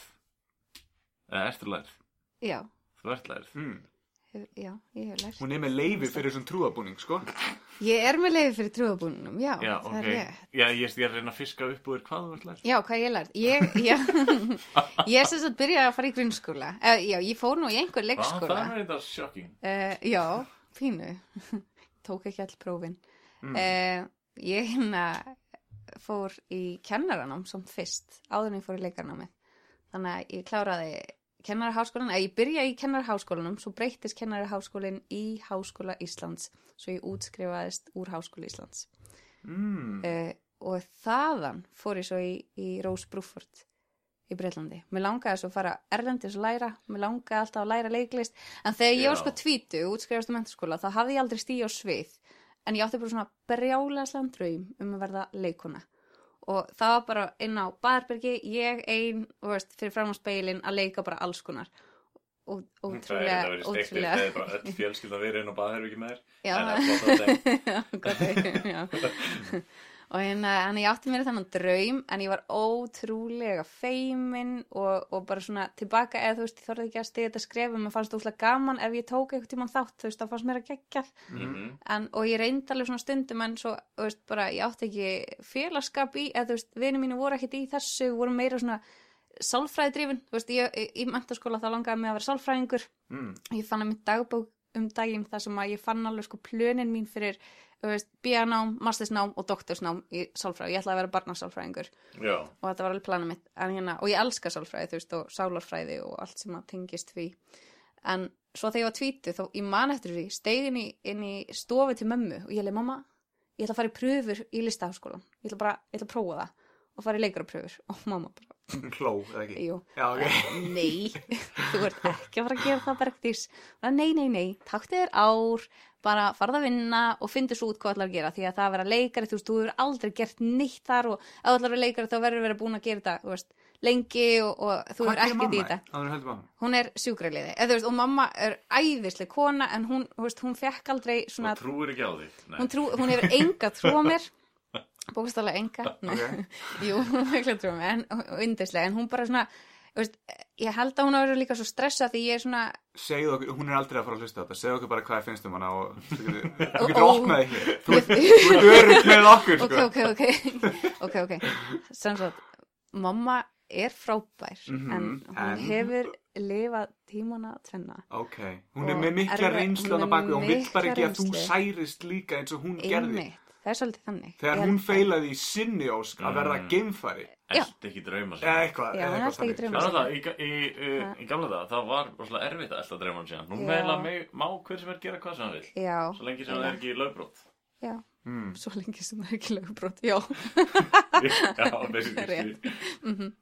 Eða, ertu lærð?
Já,
Þú ert lærð
Mm.
Hmm. hef, já, ég hef lært.
Hún er með leifi fyrir þessum trúabúning, sko.
Ég er með leiði fyrir trúabúnunum, já,
Já,
það
ok
er rétt.
Já, ég ég er að reyna að fiska upp úr þér hvað þú ert lærð
Já, hvað ég lærði? Ég, já, ég er sem sagt byrjaði að fara í grunnskóla. Eh, já, ég fór nú í einhver
Ah, Það
leikskóla.
er þetta sjokking
Uh, já, pínu. Tók ekki all prófin. Mm. ég hérna fór í kennaranám som fyrst, áður en ég fór í leikanámi. Þannig að ég kláraði kennaraháskólan, eða ég byrjaði í kennaraháskólanum, svo breyttist kennaraháskólinn í Háskóla Íslands, svo ég útskrifaðist úr Háskóla Íslands.
Mm.
Uh, og þaðan fór ég svo í, í Rose Bruford í Breitlandi. Mér langaði svo að fara erlendis að læra, mér langaði alltaf að læra leiklist, en þegar ég var
Já.
sko tvítu útskrifast á mentaskóla, þá hafði ég aldrei stíð á svið, en ég átti bara svona brjálaslan draum um að verða leikona. Og það var bara inn á barbergi, ég ein, og veist, fyrir fram á speilin að leika bara alls konar. Ó,
Það
ótrúlega,
er þetta
ótrúlega.
verið steikt Öll fjölskylda verið inn á baðherfingi með þér
Já,
En það er flott að þeim
Já, gott að- já. og hérna, hann ég átti mér þannig draum en ég var ótrúlega feimin og, og bara svona tilbaka eða þú veist, ég þorði ekki að stiga þetta skrefum mér fannst útla gaman ef ég tók eitthvað tímann þátt þú veist, þá fannst mér að geggja
Mhm.
en, og ég reyndi alveg svona stundum en svo, þú veist, bara ég átti ekki félagskap í, eða þú veist, vinir mínu voru ekkit í þessu, voru meira svona sálfræðidrifin, þú veist, ég, í- í mentaskóla þá langaði mig að vera sálfræðingur
Mm.
ég fann að mitt dagbók um daginn þar sem að ég fann alveg sko plönin mín fyrir þú veist, BA-nám, mastersnám og doktorsnám í sálfræði, ég ætlaði að vera barnasálfræðingur
Já
og þetta var alveg planið mitt en, hérna, og ég elska sálfræði, þú veist, og sálarfræði og allt sem að tengist því en svo þegar ég var tvítu, þá ég man eftir því steigin í, inn í stofu til mömmu og ég leiði, mamma, ég ætla að fara í pröfur í listaháskólan, ég ætla bara, ég ætla að prófa það og fara í leikarapröfur og mamma bara,
Hló, eða ekki?
jú,
Já, ok.
nei, þú ert ekki að fara að gera það Bergdís. Bara, Nei, nei, nei, taktu þér ár, bara farð að vinna og fyndu svo út hvað ætlar að gera því að það að vera leikari, þú veist, þú hefur aldrei gert neitt þar og ef þú ætlar að vera leikari þá verður verið búin að gera þetta, þú veist, lengi og, og þú hefur ekki í þetta.
Það er heldur mamma.
Hún er sjúkraliði, eða þú veist, og mamma er æðisleg kona en hún, þú veist, hún fekk aldrei svona
Þú trúir ekki á þig Nei.
hún, trú, hún hefur enga trú á mér bókastálega enga okay. jú, hún hefur ekki trú á mér en, og yndislega, en hún bara svona þú veist, ég held að hún hefur verið líka svo stressa því ég er svona
Segðu okkur, hún er aldrei að fara að hlusta á þetta. Segðu okkur bara hvað finnst um hana og þú getur, þú
Ó,
getur
ó.
opnað ekki. Þú
ok,
þú ert örugg með okkur, sko.
ok, ok ok, ok samsagt, mamma er frábær
Mhm,
en hún
en-
hefur lifað tímana tvenna
Ok, hún er
Og
með mikla
erfið-
reynslu
hún er
hann að baka og hún vill bara
mikla
ekki að þú
reynslu.
særist líka eins og hún gerði
einmitt, það er svolítið þannig
þegar
Ég
hún
held að-
feilaði í sinni ósk að verða geimfari
Já.
Elti ekki drauma
eða
sér
eitthvað
Mm. Já,
eða
hún
eitthvað
elti ekki
þannig.
drauma.
Það var alltaf, í, í, uh, í gamla það, það var rosalega erfitt að elda drauman síðan. Nú
Já.
meðla má hver sem er gera hvað sem hann vil.
já,
Svo lengi sem það er ekki lögbrót.
já,
Mm.
svo lengi sem það er ekki lögbrot já
Já, basically.
Rétt.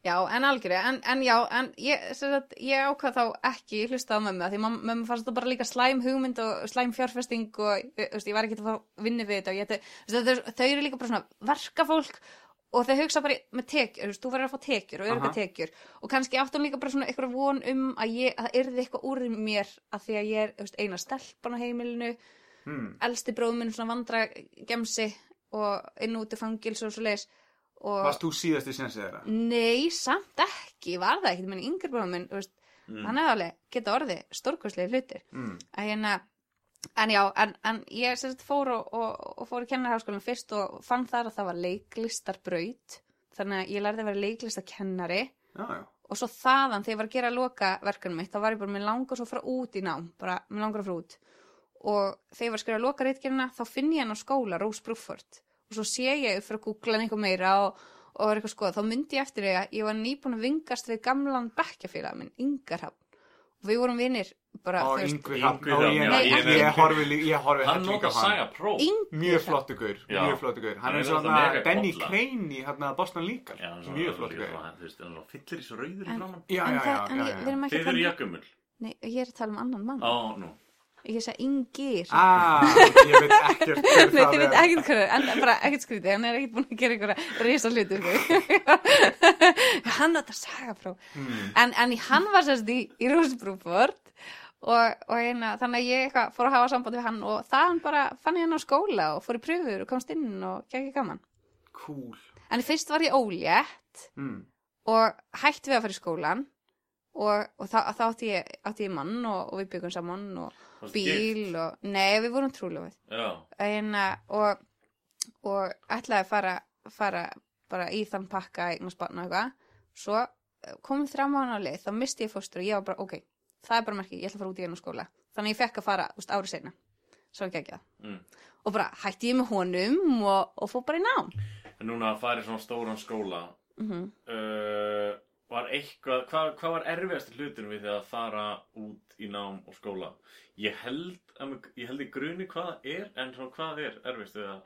Já, en algjörðu, en, en já, en ég, sem sagt, ég ákvað þá ekki hlusta á mömmu, af því mam- mömmu fannst þetta bara líka slæm hugmynd og slæm fjárfesting og eh, þú veist, ég var ekki að fá vinnu við þetta og ég ætti, þú veist, þau- þau eru líka bara svona verkafólk og þau hugsa bara í- með tekjur, þú veist, þú verður að fá tekjur og örga
Aha.
tekjur og kannski áttum líka bara svona eitthvað von um að, ég, að það yrði eitthvað úr mér að því að ég er þú veist, eina stelpan á heimilinu,
Mm.
elsti bróðum minn er svona vandra gemsi og inn og út í fangils og svo leis og
Varst þú síðasti sensið þeirra?
Nei, samt ekki, var það ekkert, menn yngri bróðum minn, þú veist, hann hefði alveg geta orðið stórkoslega hlutir.
Mm.
En, hérna, en já, en, en ég sem sagt fór og, og, og fór í kennarháskólanum fyrst og fann þar að það var leiklistarbraut, þannig að ég lærði að vera leiklistarkennari
Já, já.
og svo þaðan þegar ég var að gera loka verkanum mitt, þá var ég bara, mér langar svo að fara út í nám, bara, mér langar að fara út. Og þegar ég var að skrifa loka reitgerina, þá finn ég hann á skóla, Rose Bruford. Og svo sé ég fyrir að googla hann eitthvað meira og, og var eitthvað skoða, þá myndi ég eftir því að ég var nýbúin að vingast við gamlan bekkjafélag minn, Ingarhafn. Og við vorum vinir, bara,
Á
þú veist,
yngvi hafn
Yngvi
Ó,
Hrafn,
ég-
já,
ég-
ég-
Ég horfi lí- ég horfi
Hann
helling
nota
á hann.
Sæja Pró.
Yng-
Mjög flottu gaur,
Já.
mjög flottu gaur Hann
Hann
er
er
svona
náttúrulega mega
Danny
kolla.
Crane í hérna Boston Legal
Já, hann er svona-
Mjög
svona-
flottu gaur
svona- Þú veist, hann er svona fyllir í svo rauður í
En-
framann.
Já,
en
já, já,
það- en
já,
ég- við
já.
erum ekki að
Þið eru
tala um-
jakkumul.
Nei, ég er að tala um annan mann.
Á, nú.
Ég sagði Ingir.
Ah, ég veit ekkert hver
Nei,
það
þið
er.
veit ekkert hverju, en það er bara ekkert skrítið, hann er ekkert búin að gera einhverja risa hluti
Hmm,
Hann átt að saga frá. En, en í- hann var sérst í, í Rósbrúford og, og hérna, þannig að ég eitthvað fór að hafa samband við hann og þaðan bara fann ég hann á skóla og fór í pröfur og komst inn og gekk í gaman
Cool.
en fyrst var ég ólétt
Mm.
og hætti við að fara í skólan og, og þá, þá átti, ég, átti ég mann og, og við byggum saman og
Varstu
bíl
gift?
og, nei við vorum trúlofið
Já,
hérna, og, og ætlaði að fara, fara bara í þann pakka eignar spanna og eitthvað svo eh, komum þrjá mánu á leið þá misti ég fóstur og ég var bara ok það er bara merki, ég ætla að fara út í einu skóla þannig að ég fekk að fara úst, ári seinna svo ekki ekki
Mm.
og bara hætti ég með honum og, og fór bara í nám
en núna að fara í svona stóran skóla
mm
uh, var eitthvað, hvað, hvað var erfiðast hlutin við þegar að fara út í nám og skóla? Ég held, að mig- ég held í gruni hvað það er, en svona hvað er erfiðast við að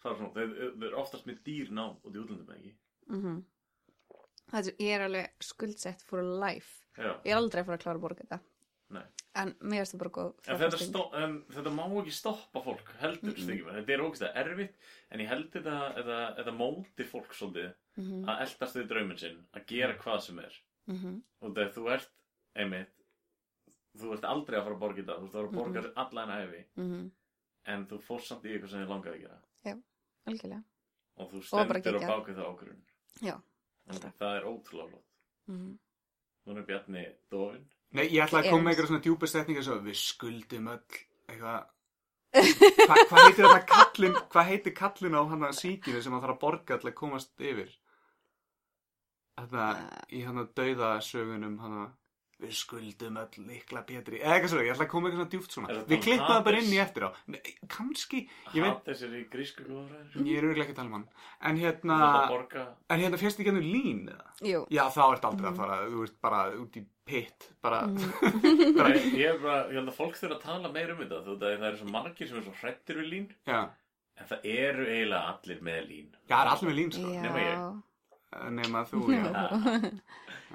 fara svona, þeir, þeir eru oftast með dýr nám út í útlöndum, ekki?
Mm -hmm. er, ég er alveg skuldsett for life.
Já,
Ég er aldrei að fara að klára að borga þetta.
nei.
En mér finnst það bara góð.
En þetta,
fjárfesting.
stó, en þetta má ekki stoppa fólk, heldur mm þetta er ógæst að erfitt, en ég held þetta, þetta, þetta móti fólk svolítið
Mhm,
að eldast við drauminn sinn, að gera hvað sem er.
mhm,
og þegar þú ert einmitt þú ert aldrei að fara að borga þetta þú ert að fara að borga mm -hmm. allan æfi
mhm.
en þú fórst samt í eitthvað sem þið langaði að gera
Algjörlega.
og þú
Og bara
stendur og
geggjað.
bákið það ákvörðun
Já,
en
alltaf.
það er ótrúlega flott
Mhm.
núna er Bjarni dofin
Nei, ég ætla að
Ég
koma með
er-
eitthvað svona djúpa setningar svo við skuldum öll eitthvað Hva, hvað heitir þetta kallin hvað heitir kallin á hann að síkinu sem hann þarf að borga alltaf að komast yfir Þetta í hann að dauða sögunum hann að við skuldum öll líkla betri eða eitthvað svona, ég ætla að koma með eitthvað svona djúpt
Er
svona
þetta
við
um
klippum það bara
Hades?
inn í eftir á Nei, kannski, ég veit,
Hades er í grísku góðræður
ég er auðvitað ekki að tala um hann en
þú
hérna,
ert að borga
en hérna fyrst ekki hann lín eða?
Jú.
Já, þá ert aldrei að fara, þú ert bara út í pitt, bara
Nei, ég, er bara, ég held að fólk þurfa að tala meir um þetta þú veit að það eru svo margir sem eru svo hrettir við lín
já,
en það eru eiginlega allir með lín
já, Hm. það er allir með lín sko.
Já.
nema ég.
nema þú, já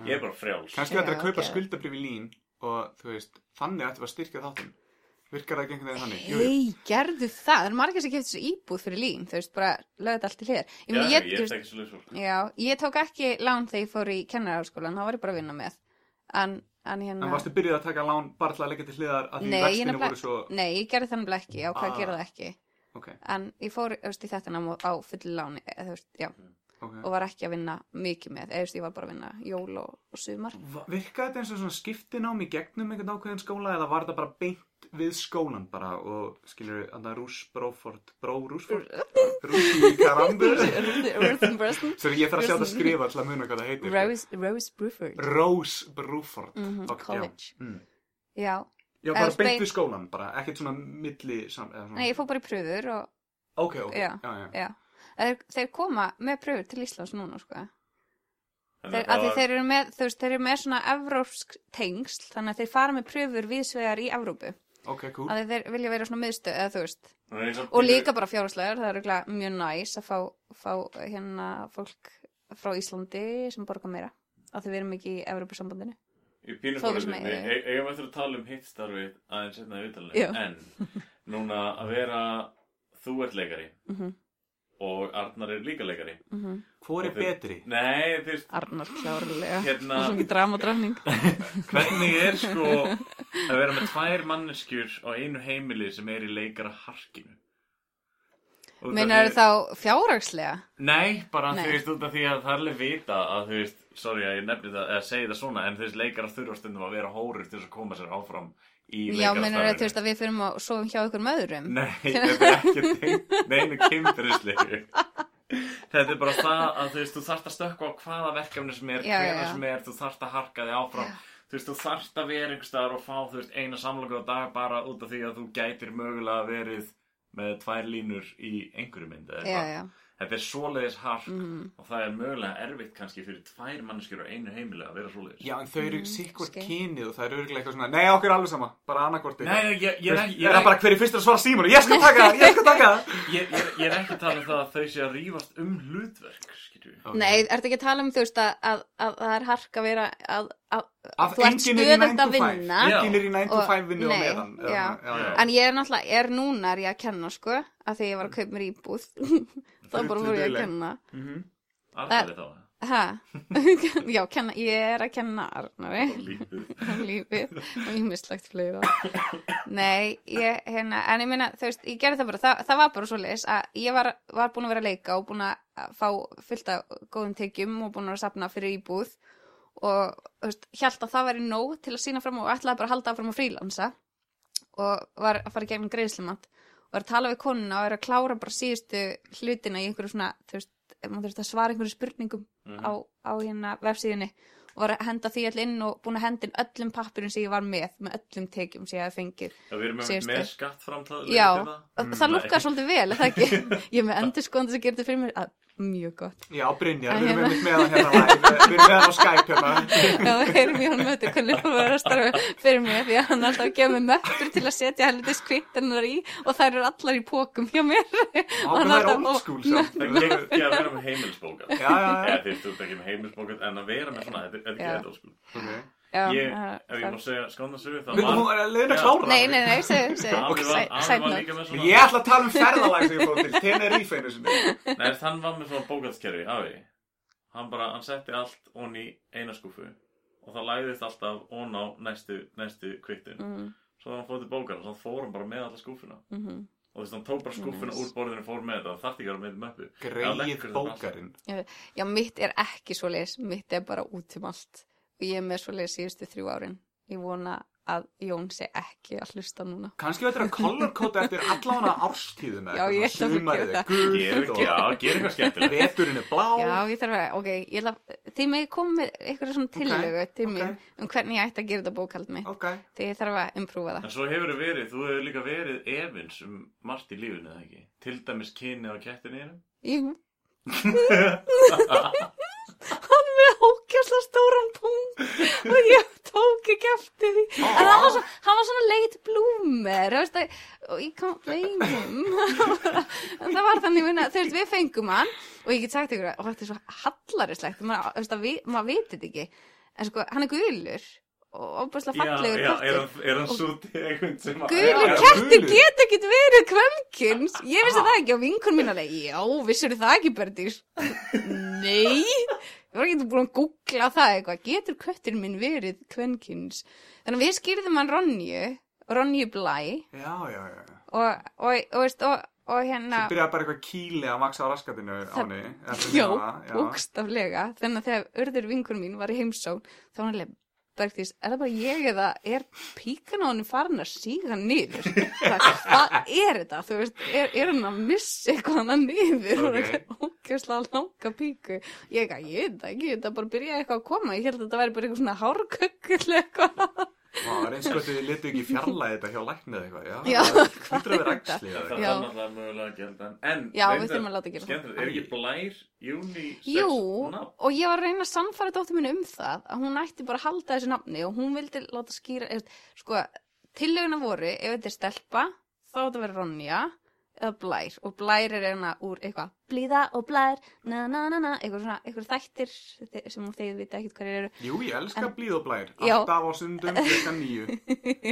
ég er bara frjáls
kannski þetta er
Já,
að kaupa
ok.
okay. skuldabrif í lín og þú veist, þannig ættum við að styrkja þáttinn virkar það ekki einhvern veginn þannig jú, jú.
Hei, gerðu það. Það eru margir sem keftu þessu íbúð fyrir lín. Þú veist, bara lögðu þetta allt til hér. Ég,
já,
meina,
ég,
þú veist,
er ekki svolítið fólk
já, ég tók ekki lán þegar ég fór í kennararskólan. Það var ég bara að vinna með. En, en hérna...
en varstu byrjuð að taka lán bara til að leggja til hliðar að því
Nei, ég
vextinu
nefnilega-
voru svo
Nei, ég gerði þannig bara ekki. Já, hvað
Ah.
ah. gerði það ekki?
ok,
en ég fór þú veist, í þetta nám á- á fullu láni eða, þú veist, já,
ok
og var ekki að vinna mikið með eða þú veist, ég var bara að vinna jól og, og sumar
Va- virkaði þetta eins og svona skiptinám í gegnum einhvern ákveðin skóla eða var þetta bara beint við skólan bara og skilur við andan Rús Bróford Bró Rúsford Rúsi Karambur
Ruth Bruston
Sorry, ég þarf að sjá þetta skrifa til að muna hvað það heitir
Rose, Rose Bruford
Rose Brúford
Mhm,
Ok, já.
college.
Mm.
já,
Já,
Eða
bara
þú
beint
veist,
við skólan, bara, ekkert svona milli sam... eða svona-
nei, ég fór bara í pröfur og
Ok, ok,
Já.
já, já.
já, þeir, þeir koma með pröfur til Íslands núna, sko
Þannig
þeir,
að það
af því
var-
þeir eru með, þú veist, þeir eru með svona evrópsk tengsl, þannig að þeir fara með pröfur viðsvegar í Evrópu,
Ok, cool.
að þeir vilja vera svona miðstöð, eða þú veist
það er eins
og líka bara fjárhagslegar, það er örugglega mjög næs að fá, fá hérna fólk frá Íslandi sem borga meira af því við erum ekki í Evropasambandinu
Ég pínur
Þó
fórum
við
við,
sem
við
eigum.
e- eigum eftir að tala um hitt starfið aðeins hérna í
Já.
viðtalinu En núna að vera, þú ert leikari
Mhm.
og Arnar er líka leikari
Hvor er
Ok.
betri?
Nei, þú veist,
Arnar klárlega,
Hérna-
svona ekki dramadröfning
hvernig er sko að vera með tvær manneskjur á einu heimili sem er í leikara harkinu
Meinar þá fjárhagslega?
Nei, bara
Nei.
þú veist út af því að það er alveg vita að þú veist, sorry að ég nefni það eða segi það svona, en þú veist leikara þurfa stundum að vera hórir til þess að koma sér áfram í
Já,
leikara
meinar þú veist að við fyrum að sofum hjá ykkur möðurum?
Nei, þetta er ekki tengt neinu kynferðislegu Þetta er bara það að þú veist, þú þarft að stökkva á hvaða verkefni sem er,
Já, já,
hverða
já.
sem er, þú þarft að harka þig áfram Þú veist, þú þarft að vera einhvers staðar og fá, þú veist, eina samlokur á dag bara út af því að þú gætir mögulega verið með tvær línur í einhverju mynd eða
Já,
eitthvað.
já, Mhm.
Þetta er svoleiðis hark og það er mögulega erfitt kannski fyrir tvær manneskjur á einu heimilega að vera svoleiðis
Já, en þau
Mm,
eru sikkvort
skil.
kynið og það eru örgulega eitthvað svona Nei, okkur er alveg sama, bara annarkorti
Nei, ég, ég, ég,
er
er
ekki
ekki-
Ég er bara hver er fyrst að svara símanu, ég skal taka það, ég skal taka það
ég, ég, ég er ekki að tala um það að þau sé að rífast um hlutverk, skilju
Ok.
Nei, ertu ekki að tala um þú veist að, að, að það er hark að vera að, að,
Af
þú ert
enginn er í 9
stöðugt
to
að
5.
vinna
Já.
Enginn er í 9 to
Og-
5 vinnu á
nei,
meðan eða
já.
svona, já, já.
En ég er náttúrulega, er núna er ég að kenna sko, að því ég var að kaupa mér íbúð þá bara voru
Mhm.
ég að
Hryllileg.
kenna
Arnar er þá
Hæ? Já, kenna, ég er að kenna Arnari
Lítið.
um lífið og ég mislagt fleira Nei, ég, hérna, en ég meina, þú veist, ég gerði það bara, það, það var bara svo leis að ég var, var búin að vera að leika og búin að fá fullt af góðum tekjum og búin að vera að sapna fyrir íbúð og, þú veist, hjælt að það væri nóg til að sína fram og ætlaði bara að halda áfram að frílansa og var að fara í gegnum greiðslumat og var að tala við konuna og er að klára bara síðustu hlutina í einhverju svona, þú veist, maður þurfti að svara einhverju spurningum á, á hérna vefsíðunni og var að henda því all inn og búin að henda inn öllum pappurum sem ég var með, með öllum tekjum sem ég hafði fengið.
Já, við erum með,
Síðustu.
með hérna. skattframtæð
Já,
Mm,
það, það lukkar svolítið vel, er það ekki? ég er með endur skoðan sem gerir þetta fyrir mér, að, mjög gott.
Já, Brynjar,
Að
við erum
hérna.
einmitt með hann hérna live, eh, við erum með hann á Skype hérna.
Já, erum ég hann með þetta hvernig það var að starfa fyrir mér því að hann alltaf að gefa mér möppur til að setja helvitis kvittinnar í og þær eru allar í pókum hjá mér.
Ákveð það er old school samt.
Það er ekki að vera með heimilsbóka
Já, já,
Eða
já.
þú veist, þú ert ekki með heimilsbóka En að vera með svona, þetta er- þetta er
Já.
ekki eitthvað
Okay.
Já,
Ég,
það-
ef ég má segja skána sögu Það
Við- Hún
var,
er leiðin að
Já.
klára.
Nei, nei, nei, segðu,
Afi
segðu,
var, afi var
sætnátt.
líka með
Ég
svona
ætla að tala um ferðalag sem ég fóð til, Tenerife einu sinni.
Nei, þann var með svona bókaldskerfi, afi Hann bara, hann setti allt onni í eina skúfu Og það læðist alltaf ón á næstu, næstu kvittin
Mm,
Svo var hann fótt til bókar og svo fór hann bara með alla skúfuna
mhm.
Og þú veist, hann tók bara skúfuna
Nice.
úr borðinu og fór með þetta Það þarf ekki að vera með möppu
Greið bókarinn.
Já, mitt er ekki svo leis, mitt er bara út um allt. Og ég er með svo leis síðustu þrjú árin. Ég vona að Jón sé ekki að hlusta núna.
Kanski þetta er að colorkóta eftir allána árstíðum
Já, ég ætla að
Sumarið
gera
er gult
Gerum, já,
og
gerum eitthvað skemmtilegt
veturinn er blá.
Já, ég þarf að, ok, ég ætla að, þið með komið með einhverja svona tillögu til
ok.
mér um hvernig ég ætti að gera þetta bókald mitt.
Ok.
Þegar ég þarf að imprúfa það.
En svo hefur þið verið, þú hefur líka verið efins um margt í lífinu, eða ekki? Til dæmis kynni á kettinu einum?
Ég... Hann með ókjærsla stóran punkt og ég tók ekki eftir því. En hann var, svo, hann var svona leit blúmer, þú veist að, og ég kom leimum. en það var þannig, minna, þú veist, við fengum hann og ég get sagt ykkur að, og þetta er svo hallarislegt, maður, þú veist að, við- maður vitið þetta ekki. En sko, hann er gulur og óbúrslega fallegur
já, er
köttur.
hann, er hann svo tegund sem að...
Gulir
Já,
kettir
gulir.
geta ekkit verið kvemkins Ég vissi það ekki og vinkun mín alveg Já, vissur það ekki Berdís Nei Ég var ekki búin að googla það eitthvað Getur köttir minn verið kvenkins Þannig að við skýrðum hann Ronju Ronju Blæ
Já, já, já.
Og, og, og, veist, og, og
Svo
hérna
byrjaði bara eitthvað kýli að maksa á raskatinu á henni. eftir
Já,
hana,
bókstaflega Þannig að þegar urður vinkun mín var í heimsón Þá var hann alveg Bergdís, er það bara ég eða er píkan á henni farin að síga niður? Það, hvað er þetta? Þú veist, er, er hann að missa eitthvað hann niður?
Ok.
Okay. Ókjörslega langa píku. Ég ekki, ég veit það ekki, þetta bara byrjaði eitthvað að koma. Ég held að þetta væri bara eitthvað svona hárkökkull eitthvað.
Vá, það er eins og þið litu ekki fjarlæði þetta hjá læknið eitthvað. Já,
Já,
það hlýtur að vera
er þetta?
æxlið.
Það
eða eitthvað.
er
Já.
náttúrulega mögulega að gera það. En,
Já, við
reyndar-
þurfum að láta gera það.
Skemmtilegt, er ekki blær, júni,
Jú, og ég var að reyna að samfara dóttir minni um það að hún ætti bara að halda þessu nafni og hún vildi láta skýra, eða, sko, tillöguna voru, ef þetta er stelpa, þá þetta verið Ronja eða Blær og Blær er hérna úr eitthvað, blíða og Blær, na na na na, eitthvað svona, eitthvað þættir þe- sem hún þegið vita ekkert hverju eru.
Jú, ég elska
En-
blíð og blær.
Já.
Alltaf á sundum, klukkan nýju.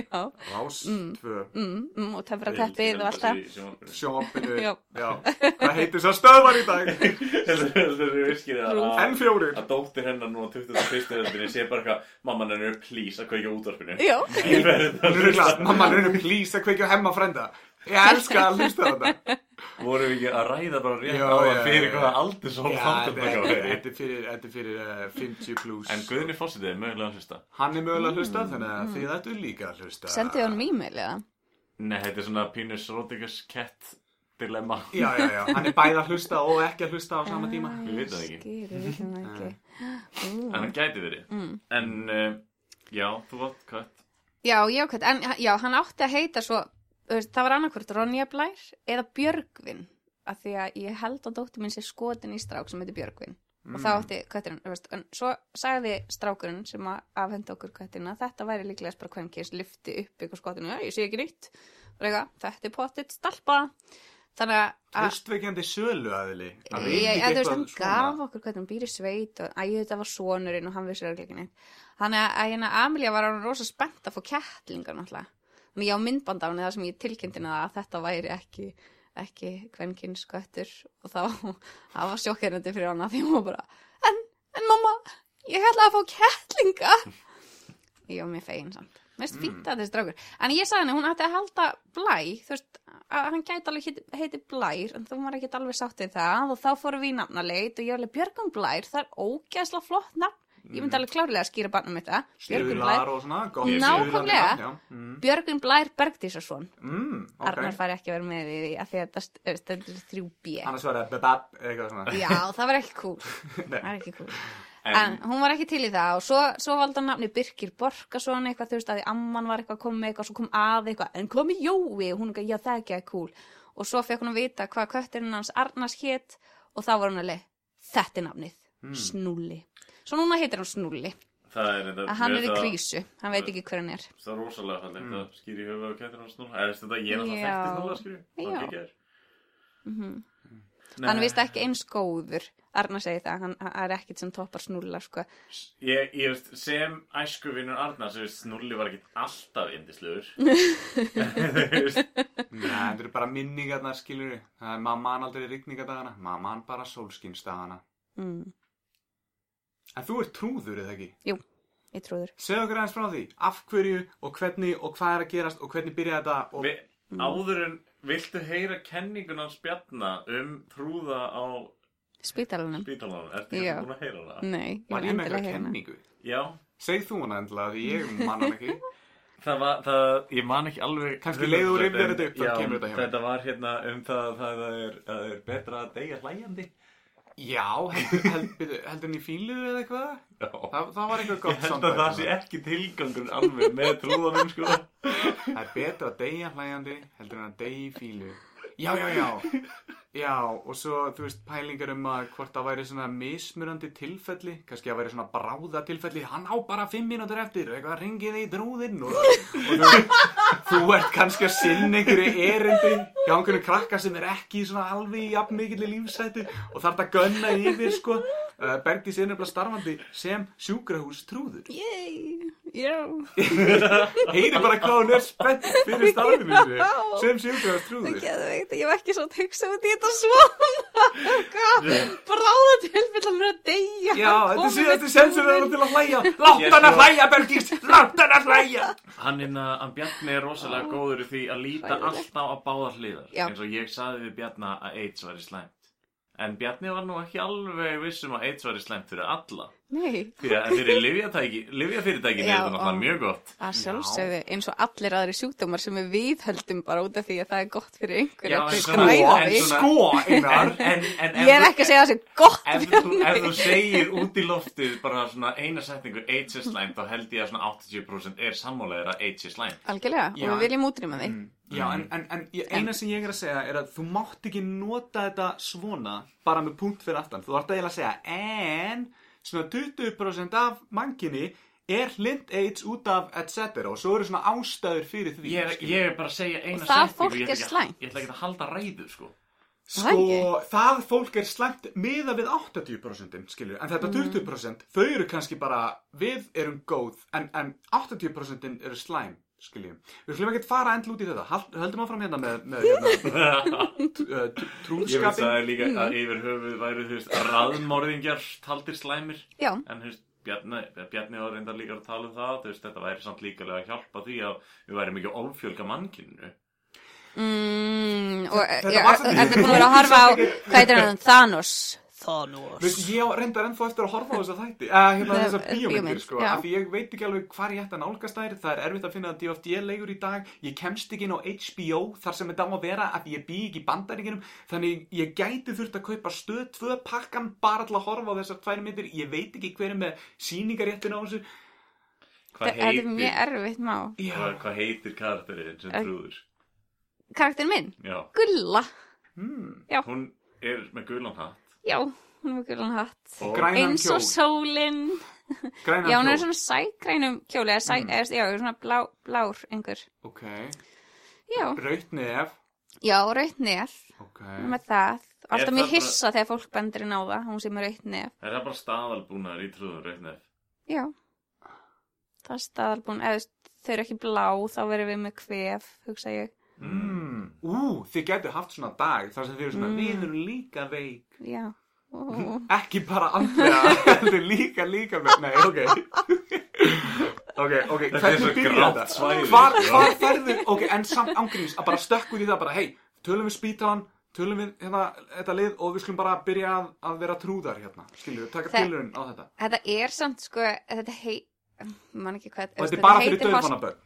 Já,
Rás
Mm.
tvö.
mm, mm, og tefra teppið og allt það.
Sjónvarpinu.
Já.
eh, Já. Hvað heitir þess að stöðvar í dag?
Þetta er viskið að...
Enn fjórir.
Að dóttir hennar nú á 21. öldinni sé bara eitthvað, mamma hennar, please, að kveika útvarpinu.
Já,
Ég verði
Hún
það
er glad, mamma reynir please að kveikja á hemma frenda. Ég elska að hlusta á þetta.
Vorum við ekki að ræða bara rétt
Já,
á að
já,
fyrir
já.
hvaða aldur svo
Já,
þáttum
þetta
það
er-
verið?
þetta er fyrir, þetta er fyrir uh, 50 pluss.
En Guðni Fossið er mögulega að hlusta.
Hann er mögulega að
Mm.
hlusta, þannig að þið ættu líka að hlusta.
sendið hann e-mail eða?
Nei, þetta er svona Pínus Rótikas Kett dilemma.
Já, já, já, hann er bæði að hlusta og ekki að hlusta á
Ah.
sama tíma.
Við vitum það ekki. Ah.
Skýri, við vitum það ekki.
En hann gæti verið.
Mm.
En, uh, já, þú varst kött.
Já, já, hvað, en já, hann átti að heita svo, þú veist, það var annarkvort Ronja Blær eða Björgvin af því að ég held að dóttir minn sé skotin í strák sem heitir Björgvin og þá átti kötturinn, þú veist, en svo sagði strákurinn sem að afhenda okkur köttina þetta væri líklega bara kvenkins lyfti upp ykkur skotinu, já, ég sé ekki nýtt og eitthvað, þetta er pottitt stalpa þannig að
Hlustvekjandi sölu aðili. Hann veit
Ah. ég,
ekki
eða, þú veist,
eitthvað
hann gaf okkur hvernig hann býr í sveit og æ, þetta var sonurinn og hann vissi örgleikinni þannig að- að hérna Amelia var hann rosa spennt að fá kettlingar náttúrulega þannig að ég á myndband á henni þar sem ég tilkynnti hana að þetta væri ekki ekki kvenkins köttur og þá það var sjokkernandi fyrir hana því hún var bara en en mamma, ég ætla að fá kettlinga ég var mér fegin samt mér finnst fínt að þessi drákur en ég sagði henni, hún ætti að halda blæ þú veist, að hann gæti alveg heiti, heiti blær en þú var ekki alveg sátt við það og þá fórum við í nafnaleit og ég var alveg Björgum Blær það er ógeðslega flott nafn ég myndi alveg klárlega að skýra barnum mitt það Björgum Blær,
Stuðlar og svona, gott.
Nákvæmlega.
stuðlar, já. Mm,
Björgum Blær Bergdísarsson
mm, ok.
Arnar fari ekki að vera með í því að því að þetta st- stendur 3B
Annars var það bebab, eitthvað svona.
Já, það var ekki cool
Nei.
Það var ekki cool
En-
En hún var ekki til í það og svo, svo valdi hann nafni Birkir Borkason eitthvað þú veist að því amman var eitthvað að koma með eitthvað svo kom að eitthvað en komi Jói og hún eitthvað já það er ekki að cool og svo fekk hún að vita hvað kötturinn hans Arnars hét og þá var hún alveg þetta er nafnið, Snúlli Svo núna heitir hann Snúlli
Það er þetta
að hann
mér
er í
þetta-
krísu, hann veit ekki hver hann er
Það er rosalega fallegt mm. að skýri höfuð á kettir hans núna. Eða þetta ég er
Já.
náttúrulega þekktist núna, skýri.
Já.
Það er
Mhm. Hann er vist ekki eins góður Arna segi það, hann, hann er ekkit sem toppar snúlla sko.
Ég, ég veist, sem æskuvinnur Arna, sem veist, Snúlli var ekki alltaf indislegur. Þú veist,
Nei, þetta eru bara minningarnar, skilur við. Það er mamman aldrei rigningadagana, mamman bara sólskinsdagana.
mm,
En þú ert trúður, eða ekki?
Ég trúður
Segð okkur aðeins frá því, af hverju og hvernig og hvað er að gerast og hvernig byrjaði þetta og...
við, áður en viltu heyra kenninguna hans Bjarna um trúða á
Spítalanum
spítalanum? Ertu
Já.
ekki búin að heyra það?
Nei, ég
Var
vil
ég með
endilega
eitthvað
hérna
kenningu?
Já,
Segð þú hana endilega, því ég man hann ekki.
það var, það, ég man ekki alveg...
Kannski leið og rifjar þetta upp, þá
Já,
kemur þetta hjá mér.
Þetta var hérna um það að það er, það er betra að deyja hlæjandi.
Já, heldur, heldur, heldur hann í fíluðu eða eitthvað?
Já.
Það, það var eitthvað
Ég
gott
held að það sé ekki tilgangur alveg með trúðanum sko
Það er betra að deyja hlæjandi heldur en að deyja í fílu. Já, já, já. Já, og svo, þú veist, pælingar um að hvort það væri svona mismurandi tilfelli, kannski að væri svona bráða tilfelli, hann á bara fimm mínútur eftir, eitthvað ringið í drúðinn og, og þú, þú ert kannski að sinna einhverju erindi hjá einhverju krakka sem er ekki svona alveg í jafn mikill lífsættu og þarf að gönna yfir, sko. Uh, Bergdís er nefnilega starfandi sem sjúkrahús trúður.
Yay, já
heyri bara hvað hún er spennt fyrir starfinu sínu sem sjúkraðast
Það
trúður
getur veikt, ég var ekki svo tegsa út í þetta svona Hvað, bráða tilfell að mér að deyja
Já, þetta
Komið
sé
með
þetta sensur er
trúin.
til að hlæja Látt hann að hlæja, Bergís, látt hann að hlæja
Hann hérna, hann Bjarni er rosalega góður í því að líta
Hræðilegt.
alltaf á báðar hliðar
Já.
eins og ég saði við Bjarna að AIDS væri slæmt En Bjarni var nú ekki alveg viss um að AIDS væri slæmt fyrir alla
Nei,
Því að fyrir livjafyrirtækin er
Já,
þetta náttúrulega
og-
mjög gott
að sjálfsögðu eins og allir aðri sjúkdómar sem við viðhöldum bara út af því að það er gott fyrir
Já,
einhverja
en
þau
svona-
græða
en
því.
svona-
Sko,
En,
Einar
en, en
Ég er ekki að segja það sem gott
Ef
fyrir
þú, ef þú
mig.
segir út í loftið bara svona eina setningu AIDS er slæmt þá held ég að svona 80% er sammálaðir að AIDS er slæmt
Algjörlega,
Já.
og við viljum útrýma því
Mm.
Já, en, en, en ég- eina sem ég er að segja er að þú mátt ekki nota þetta svona bara með punkt fyrir aftan Þú ert eiginlega að segja en svona 20% af manginni er hlind AIDS út af etc. og svo eru svona ástæður fyrir því
Ég er,
skilurðu.
ég er bara að segja eina
Og það
setningu,
fólk
ég ætla
er
ekki að-
slæmt.
Ég ætla ekki að halda ræðu sko
Það ekki?
Sko, það fólk er slæmt miða við 80% skilur, en
Mm.
þetta 20% þau eru kannski bara, við erum góð en, en 80% eru slæm skiljum. Við skulum ekkert fara endl út í þetta Hald, höldum áfram hérna með, með hérna, t-
Ég
uh, t-
veist að
trúðskapin
það er líka að yfir höfuð væru þú veist raðmorðingjar taldir slæmir
Já,
en þú veist Bjarni, Bjarni var reyndar líka að tala um það þú veist þetta væri samt líkalega að hjálpa því að við væri mikið ofjölga mannkynnu
mm, og
Þetta
já,
var samt-
þetta er búin að vera að horfa á, hvað heitir hann, Thanos
Veist, ég á- reyndar ennþá eftir að horfa á þessa þætti eða hérna
Það-
þessa
eh, bíómynd,
bíómyndir sko,
já.
af því ég veit ekki alveg hvar ég ætti að nálgast þær það er erfitt að finna að DFD leigur í dag ég kemst ekki inn á HBO þar sem þetta á að vera af því ég bý ekki í bandaríkinum þannig ég gæti þurft að kaupa stöð tvö pakkan bara til að horfa á þessar tvær myndir ég veit ekki hver er með síningaréttin á þessu
Hvað
Þetta er mjög
heitir,
erfitt má
já,
hvað, hvað heitir karakterinn sem
Er-
trúður?
Karakterin minn,
Já,
Gulla
hún er með gulan hatt
Já, hún er með gulan hatt
og
grænan
Eins og
kjól
sólinn
grænan
Já, hún er
kjól. Mm.
svona sækrænum kjóli eða sæ, eða, Já, svona blá, blár einhver
ok,
Já,
raut nef
já rautt nef
ok,
Hún er með það
Er
Alltaf
það
mér
bara-
hissa þegar fólk bendur inn á það Hún sem er rautt nef
er það bara staðalbúnaður í trúður reyndar
Já Það er staðalbúin Eða þau eru ekki blá Þá verðum við með kvef, hugsa ég Mm.
mm. ú, þið getur haft svona dag þar sem þið eru svona, við erum líka veik
Já, Ó.
Ekki bara andlega, heldur líka, líka með, nei, ok. Ok, ok,
Þetta er svo
hvernig byrja
grátt
þetta?
svæði,
Hvar,
sko.
hvar ferðu, ok, en samt ángríns, að bara stökk út í það, bara, hei, tölum við spítalan, tölum við hérna, þetta lið og við skulum bara byrja að, að vera trúðar hérna, skiljum við, taka
Það-
pilurinn á þetta.
Þetta er samt sko, þetta heit, man ekki hvað,
Og þetta er bara fyrir döðfannaböð,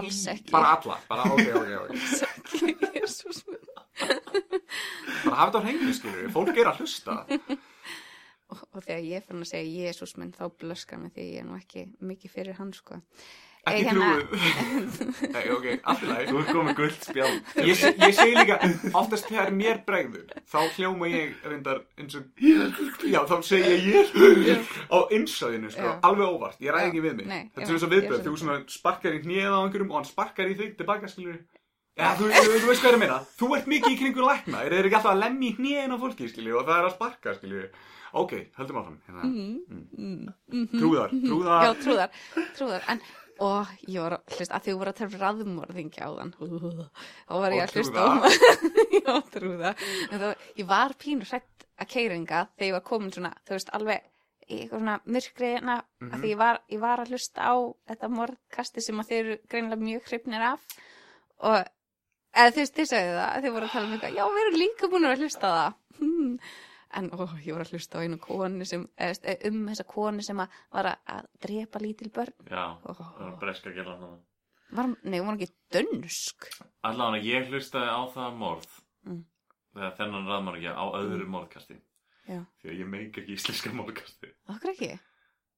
Alls ekki.
bara alla, bara, ok, ok, ok.
Alls ekki, Jesús minn.
Bara hafa þetta á hreinu, skiljum við, fólk er að hlusta.
Og, og þegar ég fann að segja Jésús minn þá blöskar mig því ég er nú ekki mikið fyrir hann sko.
Ekki
Eh,
trúið. Nei, ok, allt í lagi.
Þú er komið gullt spjald
Ég, ég segi líka, oftast þegar mér bregður, þá hljóma ég reyndar eins og, já, þá segi ég ég á innsæðinu, sko,
Já.
alveg óvart, ég ræði
Já,
ekki við mig.
nei,
Þetta
já,
er eins og
ég
viðbjöð,
skil
þú
þetta.
svona sparkar í hnið á einhverjum og hann sparkar í þig tilbaka, skilur við. Já, þú, þú, þú veist hvað er að meina, þú ert mikið í kringu lækna, þeir eru ekki alltaf að lemja í hniðin á fólki, skilju, og það er að sparka, skilju. Ok, höldum áfram, hérna, trúðar, trúðar,
Mhm. Já, trúðar, trúðar, en og ég var að hlusta, að því þú voru að tala um raðmorðingja á þann þá var ég
Og
að hlusta
trúða.
á já, trúða En þá, ég var pínur hrætt að keiringa þegar ég var komin svona, þú veist, alveg í eitthvað svona myrkri hérna af því ég var, ég var að hlusta á þetta morðkasti sem að þeir eru greinilega mjög hrifnir af og eða þú veist, þið sagði það, þið voru að tala um eitthvað já, við erum líka búin að hlusta á það hmm. en ó, ég voru að hlusta á einu konu sem, eða, þú veist, um þessa konu sem að var að, að drepa lítil börn
Já,
Ó.
það er breska að gera það
Var, nei, hún var ekki dönsk.
Allan að ég hlustaði á það morð
Mm.
Þegar þennan raðmörgja á öðru morðkasti
Já.
Því að ég meik ekki íslenska morðkasti
Okkur ekki.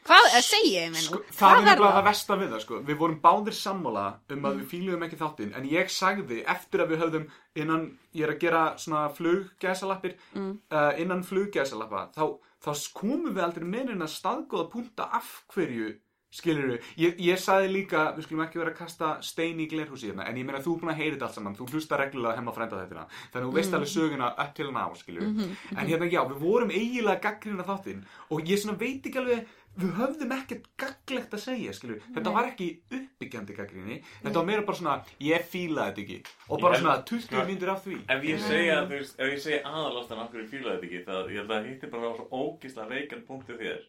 Hvað, eh, segið þið mér nú?
Sko, það er
Hvað
nefnilega það versta við það sko. Við vorum báðir sammála um að við fíluðum ekki þáttinn en ég sagði eftir að við höfðum innan, ég er að gera svona fluggæsalappir mm. uh, innan fluggæsalappa þá, þá komum við aldrei með en að staðgóða punta af hverju skilur við. Ég, ég sagði líka við skulum ekki vera að kasta stein í glerhúsi hérna en ég meina þú er búin að heyra þetta allt saman þú hlusta reglulega hemmar frænda þetta þannig að þú veist alveg söguna upp til ná skilur við. En hérna já, við vorum eiginlega gaggrina þáttinn og ég svona veit ekki alveg við höfðum ekkert gagglegt að segja skilur. við. þetta var ekki uppbyggjandi gaggrinni þetta var meira bara svona, ég fíla þetta ekki og bara
Ég-
svona 20
sko-
myndir af því
Ef ég segja, þú veist, ef ég segja aðalástan af hverju ég fílaði þetta ekki, það ég held að hitti bara á svo ógisla reikan punktu þér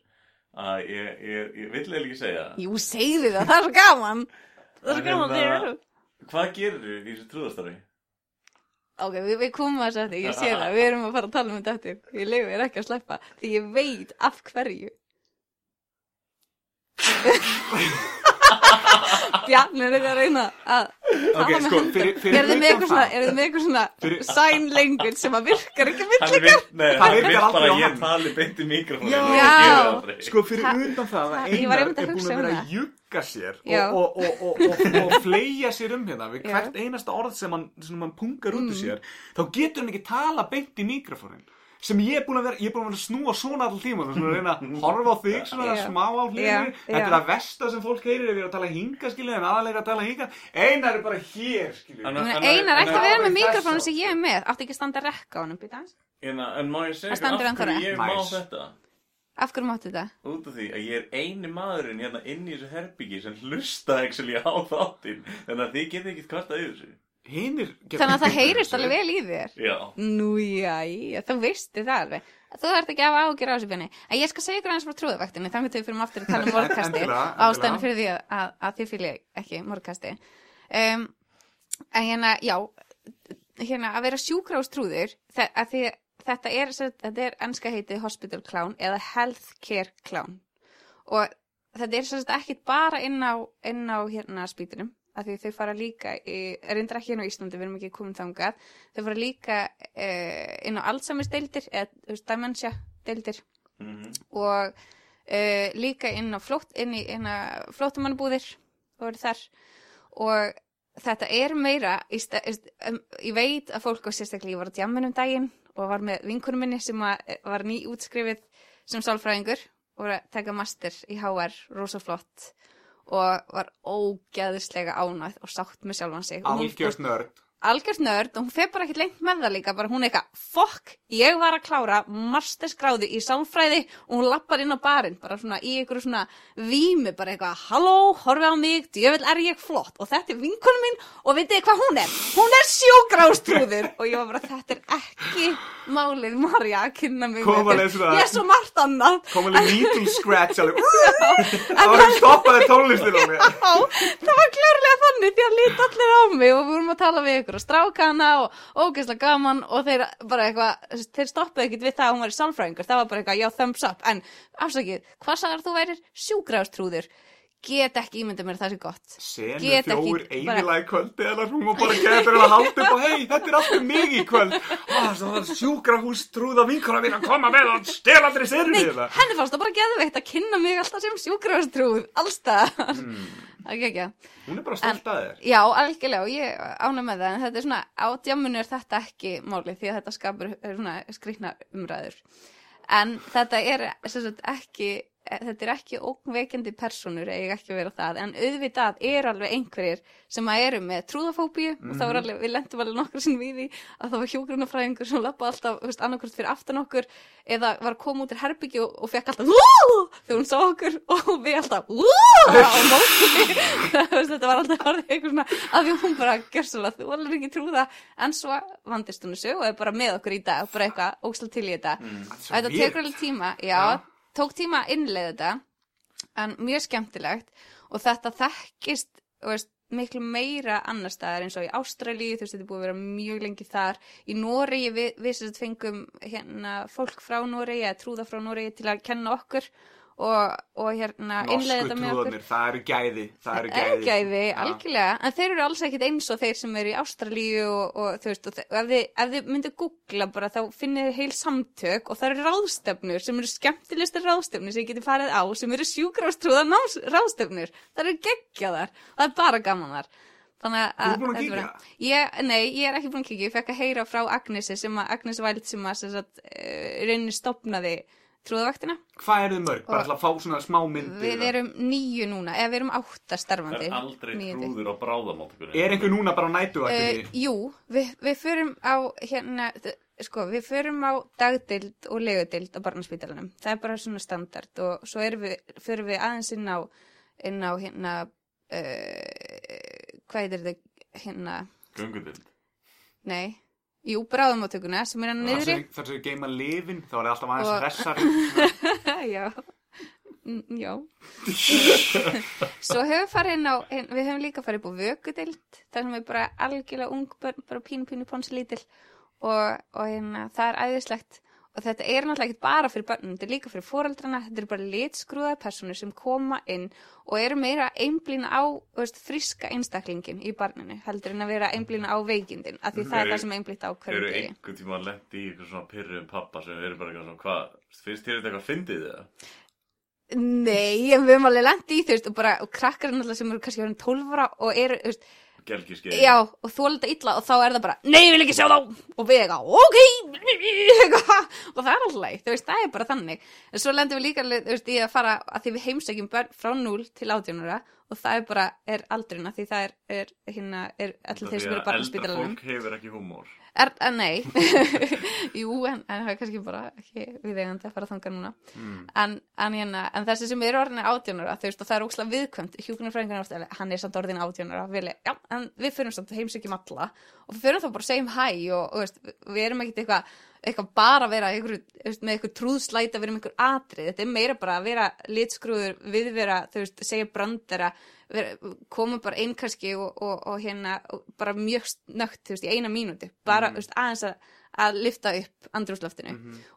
að ég, ég, ég vill eða ekki segja það.
Jú, segið það, það er svo gaman. Það er svo
En
gaman
hérna-
þegar þú.
Hvað gerir þú í þessu trúðastarfi?
Ok, við, við komum að þetta, ég sé það, við erum að fara að tala um þetta eftir. Ég leiði þér ekki að sleppa, því ég veit af hverju. Bjarni er ekki að reyna að...
ok,
hafa með
sko,
höndum.
fyrir, fyrir
Eru þið
utan
með eitthvað svona,
það-
eru þið með eitthvað
Fyrir-
svona sign language sem að virkar ekki mitt?
Hann vill, nei,
Hann
hann
virkar
vill
aldrei
bara
á
að ég
hann.
tali beint í mikrofónu.
Já.
Já.
Sko fyrir
Það-
undan það
það-
að
ég var
Einar er
einmitt að
búin
hugsa
að
um
vera
það.
að jugga sér
Já.
og, og, og, og, og, og fleia sér um hérna við
Já. Mm.
hvert einasta orð sem hann, sem hann pungar út úr sér þá getur hann ekki tala beint í mikrofónin sem ég er búin að vera, ég er búin að vera að snúa svona alltaf tíma svona að reyna að horfa á þig svona
Já.
smá á hlýðinu
Já,
þetta er
já.
að versta sem fólk heyrir ef ég er að tala hinga skilja en aðalega að tala hinga Einar er bara hér skilja
Hann-
Ég meina,
er-
Einar ætti að
er-
vera með
hann er-
mikrofónum sem ég er með, átti ekki að standa að rekka á honum, býta hans.
En, Hérna, en má ég segja
Það stendur
ykkur af
ennþá
hverju ég má
rétt. Nice.
þetta?
Af hverju máttu þetta?
Út af því að ég er eini maðurinn hérna inn í þessu herbyggi sem hlusta actually á þáttinn Þannig að þið getið ekki kvartað yfir þessu
Hinir geta-
Þannig að það heyrist alveg vel í þér.
Já,
Nú, jæja, þú veistu það alveg. Þú þarf ekki að hafa ágjur á þessu björni. En ég skal segja ykkur aðeins frá trúðavæktinu, þannig að við fyrir aftur að tala um morgkasti
Endilega,
og
endilega.
ástæðan fyrir því að, að, að þið fylgja ekki morgkasti. Um, en hérna, já, hérna, að vera sjúkrástrúður, þe- að því, þetta er, sem sagt- þetta er enska heitið hospital clown eða healthcare clown. Og þetta er sem sagt ekkit bara inn á, inn á hérna spýtunum af því þau fara líka, í, reyndar ekki hérna á Íslandi, við erum ekki komin þangað, þau fara líka uh, inn á Alzheimer's deildir, eða þú veist, dementia deildir
mhm,
og uh, líka inn á, flótt, inn í, inn á flóttamannabúðir og eru þar og þetta er meira í sta, um, ég veit að fólk og sérstaklega ég var á djamminum daginn og var með vinkunum minni sem að, eh, var ný útskrifið sem sálfræðingur og var að taka master í HR rosa flott og var ógeðislega ánægð og sátt með sjálfan sig Og hún-
algjörst nörd
algjört nörd og hún fer bara ekkert lengt með það líka bara hún er eitthvað, fokk, ég var að klára mastersgráðu í samfræði og hún lappar inn á barinn, bara svona í einhverju svona vími, bara eitthvað halló, horfi á mig, djövel er ég flott og þetta er vinkunum mín og veitir þið hvað hún er hún er sjógrástrúður og ég var bara, þetta er ekki málið Marja að kynna mig
Kom
með
alveg
þér.
svona-
ég er svo margt annað
kom alveg needle scratch alveg Það
en
var að stoppaði tónlistin á mér
Já, það var klárlega þannig því að lít allir á mig og við vorum að tala við ykkur og strákana og ógeðslega gaman og þeir bara eitthvað, þeir stoppuðu ekkert við það að hún var í sálfræðingur, það var bara eitthvað, já, thumbs up en afsakið, hvað sagðar þú værir sjúgrástrúður? Get ekki ímyndið mér að það sé gott.
Senu
Get ekki-
þjóður
bara-
einilega í kvöldi en hún var bara að gefa fyrir að halda upp og hei, þetta er alltaf mig í kvöld og það var sjúkrahús trúða vinkona mín að koma með og stela aldrei serið
Nei,
við það
henni fannst það bara geðveitt að kynna mig alltaf sem sjúgrástrúð, allstaðar. Mm. Ekki, ekki,
Hún er bara stolt að þér
Já, algjörlega og ég ána með það en þetta er svona, á djáminu er þetta ekki máli því að þetta skapur eh, svona skrikna umræður. En þetta er sem sagt ekki, eh, þetta er ekki ógnveikindi persónur eða ekki að vera það en auðvitað er alveg einhverjir sem að eru með trúðafóbíu og það var alveg, við lendum alveg nokkru sinn við því að það var hjógrunafræðingur sem lappa alltaf, þú veist, annarkvort fyrir aftan okkur eða var að koma út í herbyggju og, og fekk alltaf "Woo!" þegar hún sá okkur og við alltaf "Woo!" á móti Það, þú veist, þetta var alltaf orðið einhver svona að því hún bara gersulega, þú alveg ekki trúða en svo vandist hún þessu og er bara með okkur í dag, bara eitthvað, ósla til í þetta
Mm, Svo
Mm. Þetta
weird.
tekur alveg tíma, já,
Já.
tók tíma að innleiða þetta en mjög skemmtilegt og þetta þekkist þú veist, miklu meira annar staðar eins og í Ástralíu, þú veist, þetta er búið að vera mjög lengi þar, í Noregi við, við sem sagt fengum hérna fólk frá Noregi eða trúða frá Noregi til að kenna okkur og, og hérna innleiða
Norsku
þetta með okkur
trúðanir, það eru gæði Það eru
eru
gæði,
gæði,
Já.
algjörlega en þeir eru alls ekkit eins og þeir sem eru í Ástralíu og, og þú veist, og, þe- og ef, þið, ef þið myndu googla bara þá finnir þið heil samtök og það eru ráðstefnur sem eru skemmtilegustu ráðstefnur sem ég geti farið á sem eru sjúkrafstrúða náms- ráðstefnur það eru geggjaðar, það er bara gaman þar Þannig að
Þú ert búin að
þetta
kíkja?
var- Ég, nei, ég er ekki búin að kíkja, ég fekk að heyra frá Agnesi sem að Agnes Væld sem að sem sagt, uh, rauninni stopnaði trúðavaktina.
Hvað eru þið mörg? Bara
Og-
ætla að fá svona smá myndir
Við erum níu núna, eða við erum átta
Það
starfandi.
er aldrei
níu til.
trúður á hérna. bráðamáttökunni
Er einhver núna bara á
Uh,
nætuvakinni?
jú, við, við förum á hérna, þ- sko, við förum á dagdild og legudild á barnaspítalanum það er bara svona standard og svo erum við, förum við aðeins inn á inn á hérna uh, hvað heitir þetta hérna,
Göngundild
nei jú, bráðumátökuna sem er hann
Þar
niðri
sem þar sem við geima lifin, þá er það alltaf
Og-
aðeins hressar
já Mm, já svo hefur farið inn á inn- við hefum líka farið upp á vökudild þar sem er bara algjörlega ung börn, bara pínu pínu ponsi lítil og, og hérna, það er æðislegt og þetta er náttúrulega ekkert bara fyrir börnum þetta er líka fyrir foreldrana, þetta er bara litskruða personur sem koma inn og eru meira einblýna á þú veist, friska einstaklingin í barninu heldur en að vera einblýna á veikindin af því það er
Eru-
það sem er einblýtt á hverju
Eru
degi
einhvern tíma að lendi í eitthvað svona pyrrum pappa sem eru bara eitthvað svona Hvað, finnst þér þetta eitthvað fyndið eða?
Nei, en við höfum alveg lendi í þú veist og bara og krakkar náttúrulega sem eru kannski orðin 12 ára og eru, þú veist,
Gelgiskeið
já, og þóla þetta illa og þá er það bara, nei, ég vil ekki sjá þá og við eitthvað, ok eitthvað, og það er alltaf leið, þú veist, það er bara þannig en svo lendum við líka, alveg, þú veist, í að fara að því við heimsækjum börn frá 0 til 18 ára og það er bara, er aldrina því það er, er hérna, er allir þeir sem eru barnaspítalanum
Eldra fólk hefur ekki húmór
Er, en nei, jú, en, en það er kannski bara ekki við eigandi að fara þangað núna. En, en, hérna, en þessi sem eru orðinni átjónara, þú veist, og það er ókslega viðkvæmt, hjúkunarfræðingar ástæðilega, hann er samt orðin átjónara, við, já, en við förum samt heimsökjum alla og við förum þá bara að segjum hæ og, og veist, við erum ekkit eitthvað eitthvað bara að vera einhver, veist, með eitthvað trúðslæta, vera með einhver atrið, þetta er meira bara að vera litskruður, viðvera, þú veist, segja brandara, vera, koma bara einn kannski og, og, og hérna og bara mjög snögt, þú veist, í eina mínúti, bara, þú veist, aðeins að, að lifta upp andrúsloftinu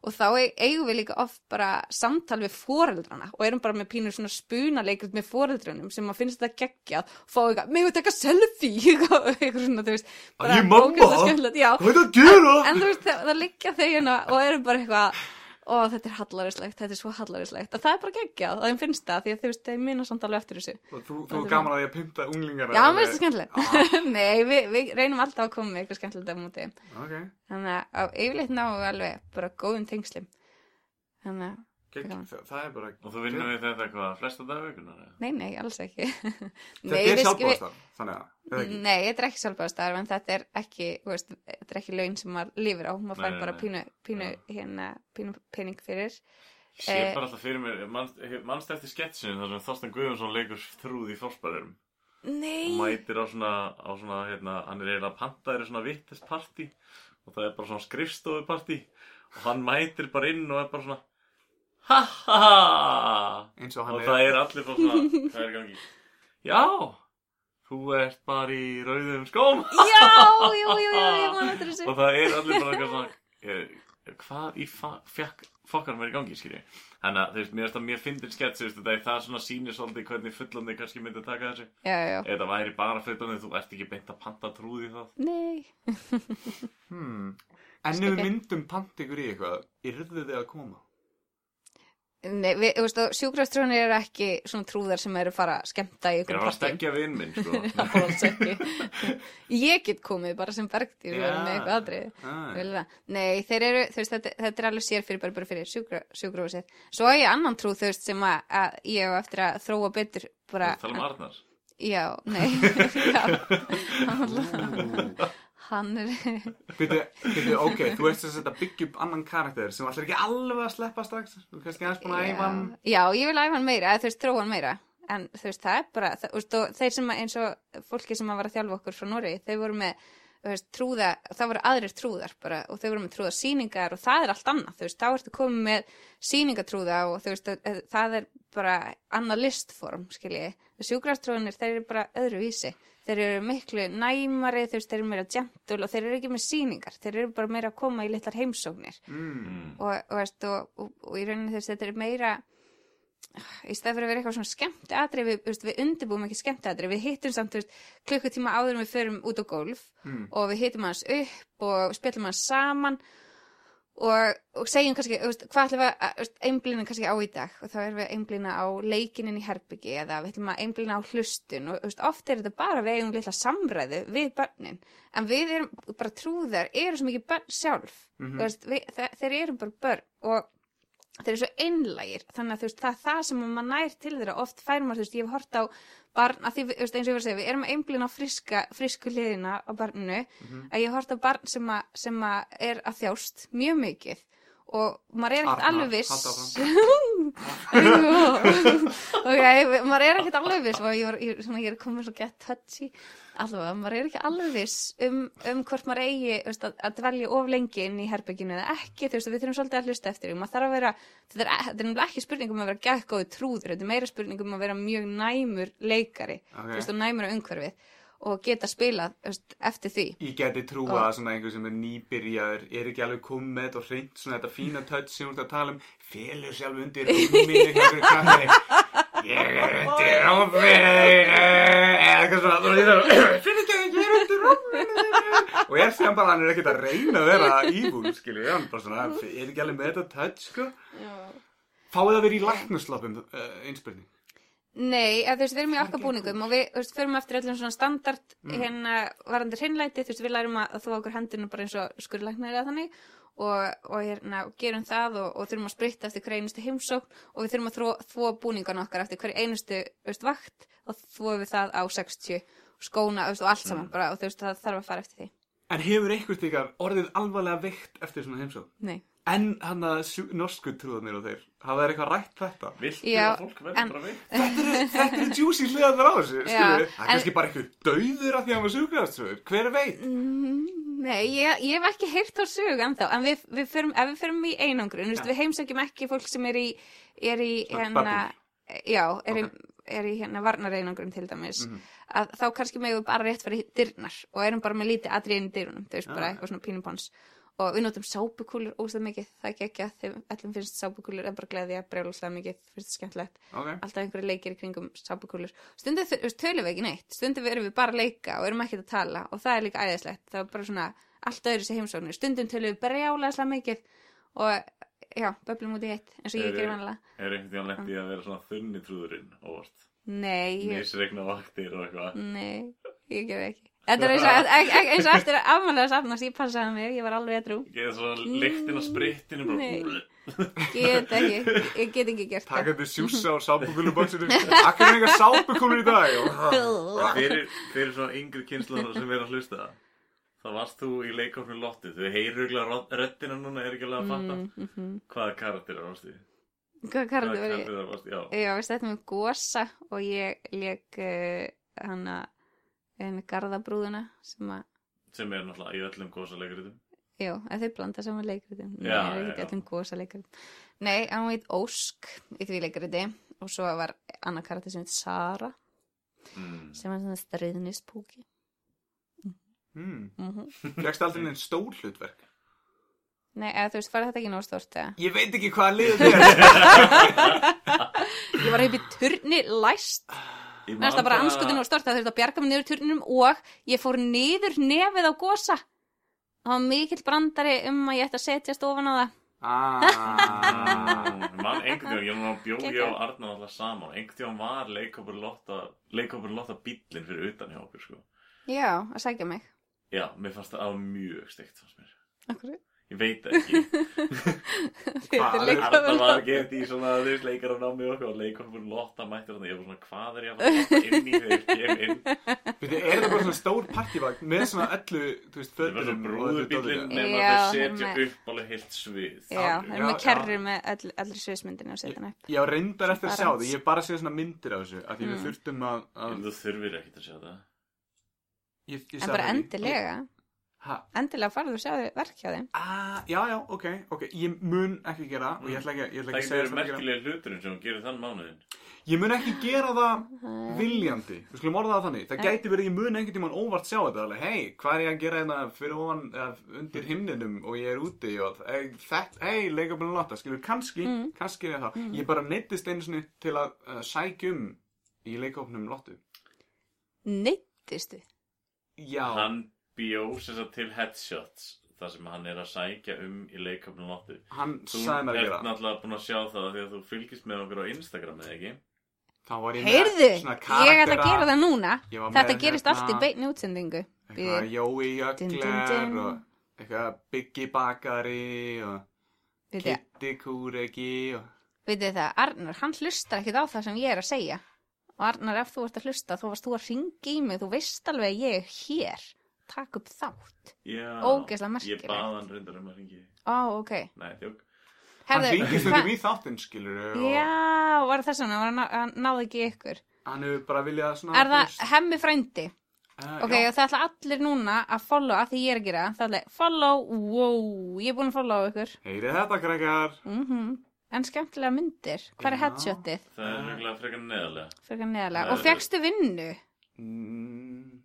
og þá e- eigum við líka oft bara samtal við foreldrana og erum bara með pínur svona spunaleikrit með foreldrunum sem að finnst þetta geggjað, fá eitthvað, megum við taka selfie, eitthvað, eitthvað svona, þú veist, bara
ég mamma?
ógeðslega skemmtilegt, já,
Hvað er það að gera?
en þú veist, það, það liggja þau hérna og eru bara eitthvað ó, þetta er hallarislegt, þetta er svo hallarislegt og það er bara geggjað, það þeim finnst það því að þú veist, þau minna samt alveg eftir þessu
Og Þú, þú er gaman að ég pynta unglingar
Já, mér finnst það skemmtilegt Nei, við, við reynum alltaf að koma með eitthvað skemmtilegt af múti
Ok,
þannig að á yfirleitt náum við alveg bara góðum tengslum þannig að
Kek,
Já.
það, það er bara
Og þú vinnur við þetta hvað, flesta dagar vikunar? eða?
Nei, nei, alls ekki.
Þetta
Nei,
er
við-
sjálfbúðastar, þannig að eða
við-
ekki?
Nei, þetta er ekki sjálfbúðastarf en þetta er ekki, þú veist, þetta er ekki laun sem maður lifir á, maður
Nei,
fær
nei,
bara
nei.
pínu, pínu,
Já.
hérna, pínu pening fyrir.
Ég sé
Eh.
bara alltaf fyrir mér, manst, manst eftir sketsinu þar sem Þorsten Guðjónsson leikur þrúð í fórsparum og
Nei,
mætir á svona, á svona hérna, hann er eiginlega pantaður í svona vittestparti og það er bara svona skrifstofuparti og hann mætir bara inn og er bara svona ha ha ha
Eins og
og
hann
það
er,
er allir bara svona, hvað er í gangi? Já, þú ert bara í rauðum skóm
já, jú, jú, jú, ég man eftir
og
þessu.
það er allir bara eitthvað svona eh, hvað í fa- fjakk fokkar mér í gangi skilji þannig að þú veist, mér finnst það mjög fyndin skets þú veist, þetta er það svona sýnir svolítið hvernig fullandi kannski myndi að taka þessu
Já, já, já.
eða væri bara fullandi, þú ert ekki beint að panta trúði það
Nei,
hmm. En ef við
Skeggið.
myndum pant ykkur í eitthvað, yrðu þið að koma?
nei, við, þú veist, sjúkrastrjónir eru ekki svona trúðar sem eru fara að skemmta
ég
í
er
ykkur
að fara að stekja vinn minn sko.
Það var alls ekki. Ég get komið bara sem bergdýr
Já.
ja. með eitthvað atrið.
Æ,
Vel það. Nei, þeir eru, þú veist, þetta, þetta er alveg sér fyrir bara, bara fyrir sjúkra, sjúkrahúsið. Svo er ég annan trú, þú veist, sem að, að ég hef eftir að þróa betur bara...
tala um Arnar
Já, nei. já, hann, alltaf- hann er...
Býtu, býtu, ok, þú veist þess að þetta byggja upp annan karakter sem allir ekki alveg að sleppa strax Þú er kannski aðeins búin að æfa hann
já, ég vil æfa hann meira, eða þú veist, þróa hann meira. En þú veist, það er bara, það, þú veist, og þeir sem að, eins og fólki sem að var að þjálfa okkur frá Nóri, þau voru með, þú veist, trúða, það voru aðrir trúðar bara, og þau voru með trúða síningar og það er allt annað, þú veist, þá ertu komið með síningatrúða og þú veist, að- að það er bara annað listform, skiljiði. Sjúkrastrúðanir, þeir eru bara öðruvísi. Þeir eru miklu næmari, þú veist, þeir eru meira gentul og þeir eru ekki með síningar, þeir eru bara meira að koma í litlar heimsóknir
mm.
mm.
og, og, veist, og, og, og í rauninni þess þetta er meira í stað fyrir að vera eitthvað svona skemmt atri við, veist, við undirbúum ekki skemmt atri við hittum samt þú veist, klukkutíma áður en við förum út á gólf
Mm.
og við hittum hans upp og spjallum hans saman og, og segjum kannski þú veist, hvað ætlum við að þú veist, einblina kannski á í dag og þá erum við einblina á leikinin í herbyggi eða við ætlum að einblina á hlustun og þú veist, oft er þetta bara við eigum litla samræðu við börnin en við erum bara trúðar, eru svo mikið börn sjálf
Mhm.
Þú veist, við, þe þeir eru bara börn og þeir eru svo einlægir þannig að þú veist, það er það sem maður nær til þeirra oft fær maður, þú veist, ég hef hort á barn, að því, við- þú veist, eins og ég var að segja, við erum að einblina á friska, frisku liðina á barninu
Mhm.
að ég hef hort á barn sem, að, sem að er að þjást mjög mikið og maður er ekkert
Arnar,
alveg
haltu
viss
áfram.
ok, maður er ekkert alveg viss og ég, var, ég, svona, ég er komin svo gett touchy allavega, maður er ekki alveg viss um, um hvort maður eigi þú veist, að, að dvelja of lengi inn í herbygginu eða ekki, þú veist, við þurfum svolítið að hlusta eftir því maður þarf að vera, þetta er, þetta er nefnilega ekki spurningum að vera geggóðu trúður, þetta er meira spurningum að vera mjög næmur leikari
Ah, Ok.
þú veist, og næmur á umhverfið og geta spilað þú veist, eftir því
Ég geti trúa að svona einhver sem er nýbyrjaður er ekki alveg komið með þetta og hreint svona þetta fína touch sem þú ert að tala um félur sjálf undir rúminni einhverju krakkari Ég er undir rúminni eða eitthvað svona þú veist, ég er- Fyrir ekki að ég er undir rúminni og ég sé hann bara hann er ekkert að reyna að vera ívúl skilur hann bara svona hann er ekki alveg með þetta touch sko Fáið að vera í læknuslappum uh, einspyrning
Nei, eða, þú veist, við erum í okkar búningum og við þú veist, förum eftir öllum svona standard hérna varandi hreinlæti, þú veist, við lærum að þú okkur hendunum bara eins og skurðlæknir eða þannig og, og hérna, og gerum það og, og þurfum að spritta eftir hver einustu heimsókn og við þurfum að þró- þvo búningan okkar eftir hver einustu þú veist, vakt og þvoum við það á 60 skóna þú veist, og allt saman bara og þú veist, það þarf að fara eftir því.
En hefur einhvert ykkar orðið alvarlega veikt eftir svona heimsókn?
Nei.
En hann að norsku trúðanir og þeir, hafa þeir eitthvað rætt þetta?
viltu
Já,
að fólk verður
en-
bara veitt
Þetta eru, þetta eru juicy hliðanar á þessu,
Já,
skilur við? Það
en-
er kannski bara einhver dauður af því að hann var sjúkraðarsöður, hver veit?
Mm, Nei, ég, ég hef ekki heyrt á sög ennþá, en við, við förum, ef við förum í einangrun, ja.
Já.
við heimsækjum ekki fólk sem er í, er í
Svona
hérna, já,
Ok.
er,
Mhm.
í, er í hérna varnar einangrun til dæmis, að þá kannski megum við bara rétt fyrir dyrnar og erum bara með lítið atriðin í dyrunum, þau veist
Já,
bara
já.
eitthvað svona pínupons og við notum sápukúlur ósað mikið, það er ekki að þeim öllum finnst sápukúlur en bara gleðja brjóluslega mikið, finnst það skemmtilegt
Ok,
alltaf einhverju leikir í kringum sápukúlur stundum þau- þú veist, tölum við ekki neitt stundum erum við bara að leika og erum ekkert að tala og það er líka æðislegt, það er bara svona allt öðru sér heimsóknir, stundum tölum við brjálega mikið og já, böblum út í eitt eins og ég
Eru-
gerir vanlega
er einhvern tíðan lent í að vera svona þunni trúðurinn óvart
nei, ég, Mm.
misregna vaktir og eitthvað
nei, ég gerði ekki Þetta er eins og, e- e- eins og eftir að afmælega safnast, ég passaði mig, ég var alveg að trú.
Geða svona lyktin af spritinu bara
Nei. Get ekki, ég get ekki gert það.
Takandi sjúsa á sápukúlubaksinu Akkur er enga sápukúlur í dag
En fyrir, fyrir svona yngri kynslunar sem er að hlusta þá varst þú í leikofni Lottu þau heyrir auðvitað röddina núna er ekki alveg að fatta
Mm.
hvaða karakter það varst í
mhm. Hvað karðu verið?
karakter það varst í já
Já, veist þetta með gósa og ég leik uh, hana en garðabrúðuna sem að,
sem er náttúrulega í öllum gósa leikritum
já, að þau blanda saman leikritum. Nei,
Já,
það er
já,
ekki
já.
allir gósa leikritum. Nei, hann veit Ósk í því leikriti og svo var annar karate sem heit Sara
mm.
sem var svona stríðnispúki.
mm.
Mm
Mhm.
Flegst aldrei neinn stór hlutverk
Nei, eða þú veist, var þetta ekki nóg stort eða?
Ég veit ekki hvaða liðið er
Ég var upp í turni læst
Ég man
Mér finnst það bara
bara-
anskotin og stort það þurfti að bjarga mig niður turninum og ég fór niður nefið á gósa það var mikill brandari um að ég ætti að setjast ofan á það
ah.
Mm, ég man einhvern tíðan, ég var að bjóð ég
Geggjað.
og Arna alltaf saman einhvern tíðan var leikofur Lotta leikofur Lotta bíllinn fyrir utan hjá okkur sko
Já, að sækja mig
já, mér fannst það að mjög steikt fannst mér
Akkur
ég veit það ekki
Hvað,
Þetta er líka
Arna var gett í svona þú veist leikar á námi og okkur og leikar fyrir lotta mættir þannig ég var svona hvað er ég að fara að inn í þegar ég kem inn
Veitu, er það bara svona stór partívagn með svona öllu, þú veist,
það var svona
fötum
brúðubillin
Já,
nema þau setja
með-
upp alveg heilt svið
Já, það er
Já,
með
já.
kerrur með öll, öllri sviðsmyndinu að setja hann upp
Já, reyndar eftir að sjá
Bara Mm.
því, ég hef bara séð svona myndir af þessu af því við þurftum að, að
en þú þurfir ekkert að sjá það
ég, ég
En
sagði
bara
það ekki.
endilega,
Ha,
endilega farðu og sjáðu verk hjá þeim
Ah, já, já, ok, ok, ég mun ekki gera það og ég ætla ekki, ég ætla
Mm. það
ekki að
ekki
segja
verið
það ekki
merkilega hluturinn sem hún gerir þann mánuðin
Ég mun ekki gera það viljandi, við skulum orða það þannig Það gæti verið, að ég mun einhvern tímann óvart sjá þetta alveg, Hei, hvað er ég að gera hérna fyrir ofan eða undir himninum og ég er úti og eh, þetta, hei, leikabunum lotta Skilur, kannski,
Mm.
kannski er það Ég bara neittist einu sinni til að uh, sækjum í leikopnum lottu
Neittistu
Já,
hann bjó sem sagt til headshots þar sem hann er að sækja um í leikafnum lottu
hann
þú hérna-
sagði
ert
mér að gera það.
náttúrulega búin að sjá það því að þú fylgist með okkur á Instagram eða ekki
Þá var ég
Heyrðu, ég
svona
ætla að
karaktera-
gera það núna
Ég var
Þetta
með
gerist
hérna-
allt í beinni útsendingu
eitthvað
Við
Jói
Dun, dun,
Jökler
dun.
og eitthvað Biggi Bakari og
við
Kitty Kúregi og
Vitið það, Arnar, hann hlustar ekkit á það sem ég er að segja. Og Arnar, ef þú ert að hlusta, þá varst þú að ringa í mig, þú veist alveg að ég er hér. Takk upp þátt.
já,
Ógeðslega merkilegt.
ég bað hann reyndar um að ringi
Ó, ok.
nei, þjók
hann
Herðu,
ringist
hva-
um í þáttinn skilur
Já, var það svona, var hann, ná- hann náði ekki í ykkur.
og hann hefur bara viljað svona
Er það hemmi frændi?
uh,
Ok, og það ætla allir núna að followa, því ég er að gera það. Það ætla, follow, wow, ég er búin að followa ykkur.
heyri þetta krakkar
Mm En skemmtilega myndir. Hvað er
Já.
headshotið?
það er reglulega frekar neðalega
Fyrir neðalega. Og
Nei.
fegstu vinnu?
Mm,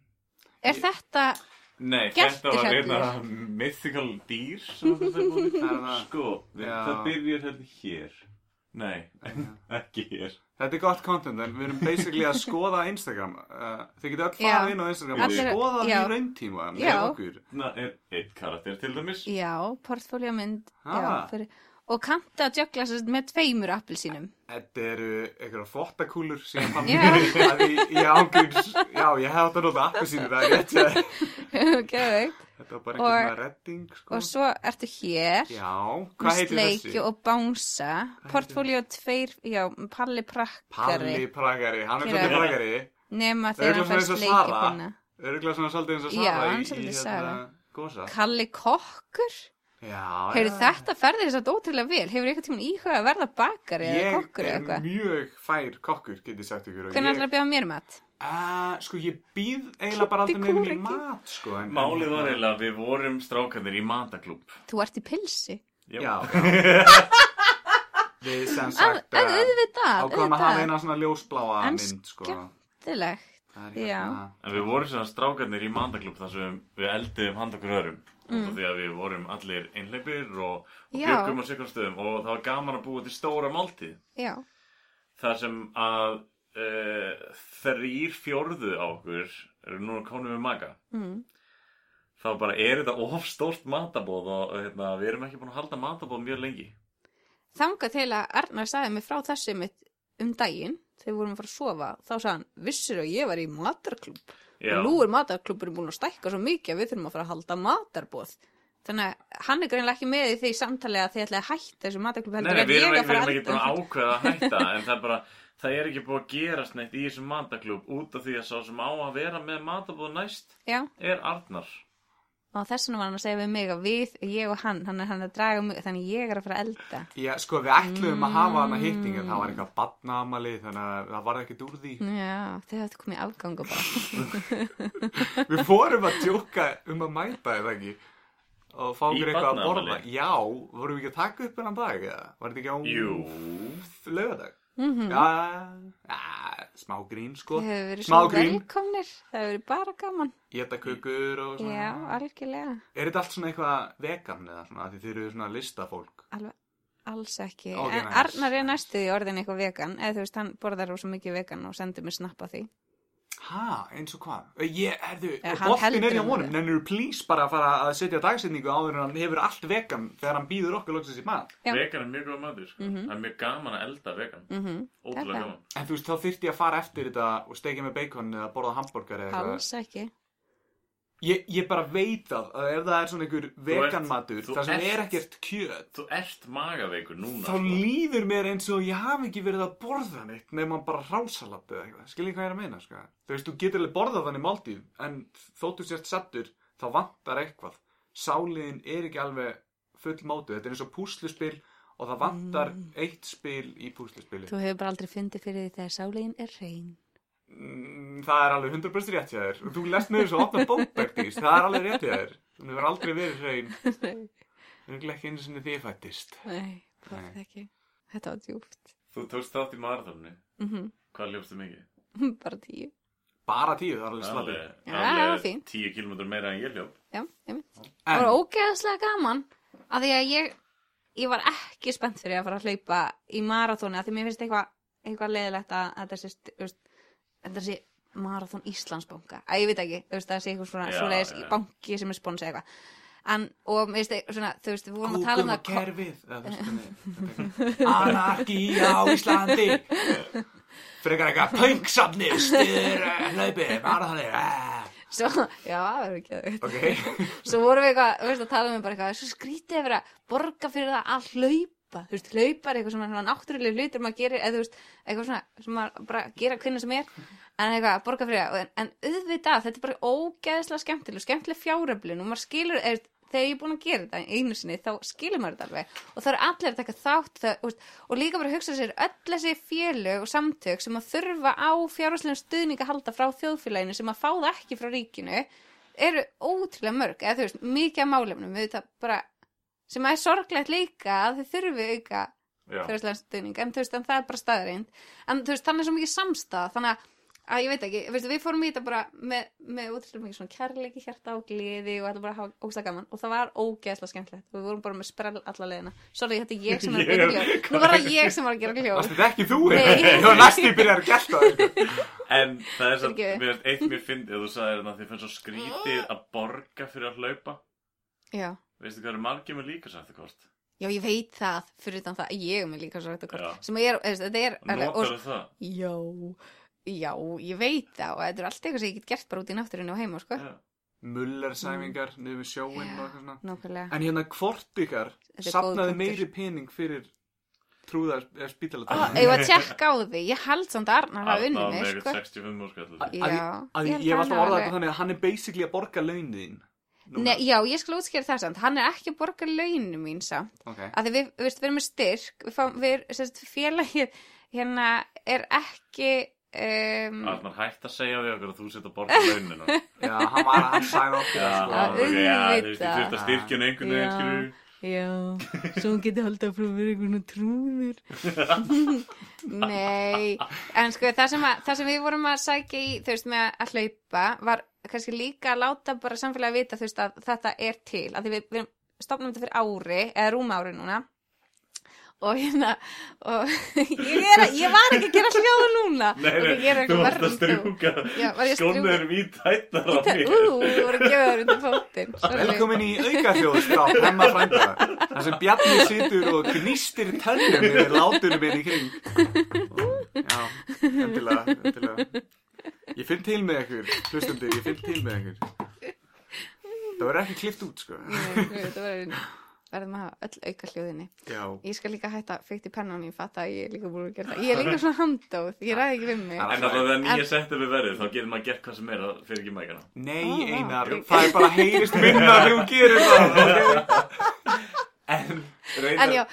Er þetta...
Nei,
Geltir
þetta var
hérna.
reyna mythical dýr sem þetta er búin
Það er það.
Sko, við-
Já.
það byrjar hérna hér Nei, ekki hér
Þetta er gott content en við erum basically að skoða Instagram uh, Þið getur öll
Já.
farað inn á Instagram
Allir-
og skoða það
já.
í rauntíma með
Já.
okkur
Þarna er eitt karakter til dæmis
Já, portfóliómynd
Ha.
já, fyrir, og kannta að jökla sérst með tveimur appelsínum
Þetta eru einhverja þvottakúlur sem ég fann
Já.
að í- í ángríns Já, ég hef átt að nota appelsínu það er rétt eh. hjá þér.
Geðveikt.
Þetta var bara
Og-
einhvern veginn redding sko.
og svo ertu hér
Já,
með
hvað heitir
sleikju
þessi?
og bánsa portfólió tveir já, palli prakkari
Palli Pragari, hann er
Hér er-
svolítið Pragari
nema
Örugglega
þegar
svona
hann fær
eins og
sleikju
Sara.
panna
Öruglega svona svolítið eins og
Já,
Sara
hann er svolítið Sara.
Gósa
Kalli kokkur
Já, Ah,
hefur
já.
þetta ferðið þess að ótrúlega vel hefur eitthvað tíma íhuga að verða bakari eða
Ég
kokkur eða
er
eitthvað
mjög fær kokkur, get ég sagt ykkur og
hvernig
ég,
ætlar að bjóða mér mat?
uh, Sko, ég býð eiginlega bara
Kiddi
aldrei nefnum í
kúreki.
mat sko, en,
Málið var eiginlega að við vorum strákanir í mataklúb
Þú ert í pilsi?
Já, já Við sem
Að,
sagt
að,
uh,
auðvitað,
ákvæm að hafa
auðvitað
eina svona ljósbláa
En
mynd sko
Skemmtilegt.
Það er
Já.
hérna-
En við vorum svona strákanir í mataklúb þar sem við eldiðum hand okkur öðrum mm. Því að við vorum allir einhleipir og, og
Já.
bjöggum á sikkur stöðum Og það var gaman að búa til stóra máltíð
Já,
þar sem að uh, þrýr fjórðu á okkur eru núna konum við maga
mm.
þá bara er þetta ofstórt matabóð og hérna, við erum ekki búin að halda matabóð mjög lengi
þangað til að Arnar sagði mig frá þessu mitt um daginn þegar við vorum að fara að sofa þá sagði hann, vissir að ég var í matarklúb
Já.
og nú er matarklúburinn búin að stækka svo mikið að við þurfum að fara að halda matarboð þannig að hann er greinlega ekki með í því samtali að þið ætlaði að hætta þessu matarklúb
Nei,
heldur
nei,
en
við erum,
ég
ekki-
að
við
fara
erum ekki búin
að
að ákveða að hætta en það er bara, það er ekki búin að gerast neitt í þessum mataklub út af því að sá sem á að vera með matabóð næst
Já,
er Arnar
og þess vegna var hann að segja við mig að við, ég og hann, hann er hann er að draga mig, þannig ég er að fara að elda.
Já, sko, við ætluðum að hafa hana hitting en það var eitthvað badnaamali þannig að það var ekkert úr því.
Já, þau hefðu komið í afgang og bara,
Við fórum að djóka um að mæta eða ekki og fá
Í
okkur eitthvað að borða.
barnaafmæli?
Já, vorum við ekki að taka upp hennan dag eða? Var þetta ekki á
Jú,
lögadag? Mm -hmm. Já, já, smá grín sko.
Mhm. þau hefur verið
Smá
svo
grín,
velkomnir, þau hefur verið bara gaman.
geta kökur og svona.
Já, algjörlega.
Er þetta allt svona eitthvað vegan eða svona, af því þið eru svona listafólk?
Alveg, alls ekki.
Ok,
en
nice.
Arnar er næstu í orðin eitthvað vegan, eða þú veist, hann borðar rosa mikið vegan og sendir mér snappa því.
Ha, eins og hvað? Ég, herðu,
Eh, hann
boltin er
heldur
hjá
um
honum,
það.
nennir þú please bara að fara að setja dagsetningu áður en hann hefur allt vegan þegar hann býður okkur loksins í mat.
Já.
vegan er mjög góð matur sko. Það er mjög gaman að elda vegan
Mm
Ótrúlega
Þetta.
gaman
En þú veist, þá þyrfti ég að fara eftir þetta og steikja með bacon eða borða hambúrgar eða
Alls ekki.
Ég, ég bara veit það, að ef það er svona einhver vegan matur,
þú
það sem
ert-
er ekkert kjöt,
Þú ert magaveikur núna sko.
þá líður mér eins og ég hafi ekki verið að borða neitt nema bara rásalat eða eitthvað. Skiljið hvað ég er að meina, sko? Þú veist, þú getur alveg borðað þannig máltíð, en þóttu sért sattur, þá vantar eitthvað. Sáliðin er ekki alveg full mótu, þetta er eins og púsluspil og það vantar eitt spil í púsluspili.
Þú hefur bara aldrei fundið fyrir því þegar sálegin er reyn.
Mm, Það er alveg 100% rétt hjá þér og þú lest með þessu að opna bókbergdís það er alveg rétt hjá þér þú hefur aldrei verið hrein örgulega ekki einu sinni því ég fættist
Nei, bara ekki. Þetta var djúpt.
Þú tókst þátt í marathónu
Mm
Hvað ljófstu mikið?
bara tíu.
bara tíu, það er alveg slappið
Alveg-
Já,
alveg
fínt.
10 km meira en ég ljóf
Já, ég mynd. Það var
en,
ógeðslega gaman. Af því að ég, ég var ekki spennt fyrir að fara að hlaupa í marathóni. Af því mér finnst eitthvað eitthva leðilegt að að þetta sé, st- þú veist, þetta sé marathón Íslandsbanka. Æ, ég veit ekki, þú veist, það sé eitthvað svona
Já,
svoleiðis
já.
banki sem er sponsið eitthvað. En, og mér finnst eitthvað svona, þú veist, við vorum að tala um
Google og
það. ko-
kerfið eða þú veist, hvernig- anarki á Íslandi frekar eitthvað pönksafnið styr hlaupið, bara þannig eh.
Svo, já, það verður ekki að
ok,
svo vorum við eitthvað, þú veist, að tala um bara eitthvað, svo skrítið að vera að borga fyrir það að hlaupa, þú veist, hlaupa er eitthvað sem er svona náttúrulega hlutur maður gerir, eða þú veist, eitthvað svona sem maður bara gera hvernig sem er, en eitthvað að borga fyrir það, en, en auðvitað, þetta er bara ógeðslega skemmtileg, skemmtileg fjáröflun og maður skilur, eða, þegar ég er búin að gera þetta einu sinni, þá skilur maður þetta alveg og það eru allir að taka þátt það, þú veist, og líka bara að hugsa sér öll þessi félög og samtök sem að þurfa á fjárhagslegum stuðning að halda frá þjóðfélaginu sem að fá það ekki frá ríkinu eru ótrúlega mörg eða þú veist, mikið af málefnum við þetta bara, sem er sorglegt líka að þau þurfi auka fjárhagslegan stuðning, en þú veist, en það er bara staðreind en þú veist, þannig er svo mikið samstað þannig að, að ég veit ekki, veistu, við fórum í þetta bara með, með útrúlega mikið svona kærleiki hjarta og gleði og þetta bara að hafa ógsta gaman og það var ógeðslega skemmtilegt, við vorum bara með sprell alla leiðina, sorry, þetta er ég sem er að gera hljóð nú var það ég sem var að gera hljóð
varstu þetta ekki þú
Nei.
ég var næstu í byrjar að gæsta það
En það er satt,
Fyrirgefðu.
mér finnst eitt mér fyndið að þú sagðir þarna að þið finnst svo skrítið að borga fyrir að hlaupa.
já.
Veistu hvað eru margir með líka sagt kort?
já, ég veit það, fyrir utan það að ég er með líka svo þetta
Já.
kort sem er, þú veist, þetta er alveg- og-
Notar það?
Já, já, ég veit það og þetta er allt eitthvað sem ég get gert bara út í náttúrinu og heima, sko.
Já.
mullersæfingar niður við sjóin og eitthvað svona
Nákvæmlega.
En hérna hvort ykkar
Þetta er
sapnaði
góður punktur.
meiri pening fyrir trúðar eða
Ah,
spítalatöð
Ég var að tjekka á því, ég held samt að Arnar hafa
Arna
unni
var með
mig, sko.
eitthvað 65 óskall.
Já,
að ég, ég var svona orðað þetta þannig að hann er basically að borga launin þín núna.
Nei, já, ég skal útskýra það samt, hann er ekki að borga launinu mín samt,
okay.
að því við, við, veist, við erum með styrk, við fáum, við, sérst, félagið, hérna, er ekki, um,
Arnar hætt að segja við okkur að þú setja að borga launinu.
Já, hann var hann sæði okkur
Já,
sko.
Já,
ok, já, þú veist, ég
auðvitað.
þurft að styrkja einhvern veginn,
Já.
skilju.
já, svo hún geti haldið að frá vera einhvern trúður. Nei, en sko það sem, að, það sem við vorum að sækja í, þú veist, með að hlaupa var kannski líka að láta bara samfélagi vita, þú veist, að þetta er til. Að því við, við stopnum þetta fyrir ári, eða rúma ári núna. Og hérna, og ég, er, að- ég var ekki að gera hljóða núna.
Nei,
Ok, ég er
nei,
eitthvað
þú varst að
verri en
strjúka.
Já, var ég að strjúka?
Skónuður mít hættar á
Ú,
mér.
þú voru að gefa þér undir fótinn. sorry.
Velkomin í aukaþjóðsdrátt Hemma frænda Það sem Bjarni situr og gnýstir tönnum yfir látunum inn í kring Já, endilega, endilega. Ég finn til með ykkur, hlustendur, ég finn til með ykkur. Það verður ekki klift út, sko.
þetta verður verðum að hafa öll auka hljóðinni
Já,
ég skal líka hætta að fyrta í pennan ég fatt að ég er líka búin að gera það ég er líka svona handóð, ég ræði ekki við mig
Alright.
En að það er nýja settum við verðið, þá getur maður gert hvað sem er að fyrir ekki mækana.
nei,
Ó, vá.
Einar, það er bara heyrist minna þegar þú gerir það. ok?
En, reyndar...
en já,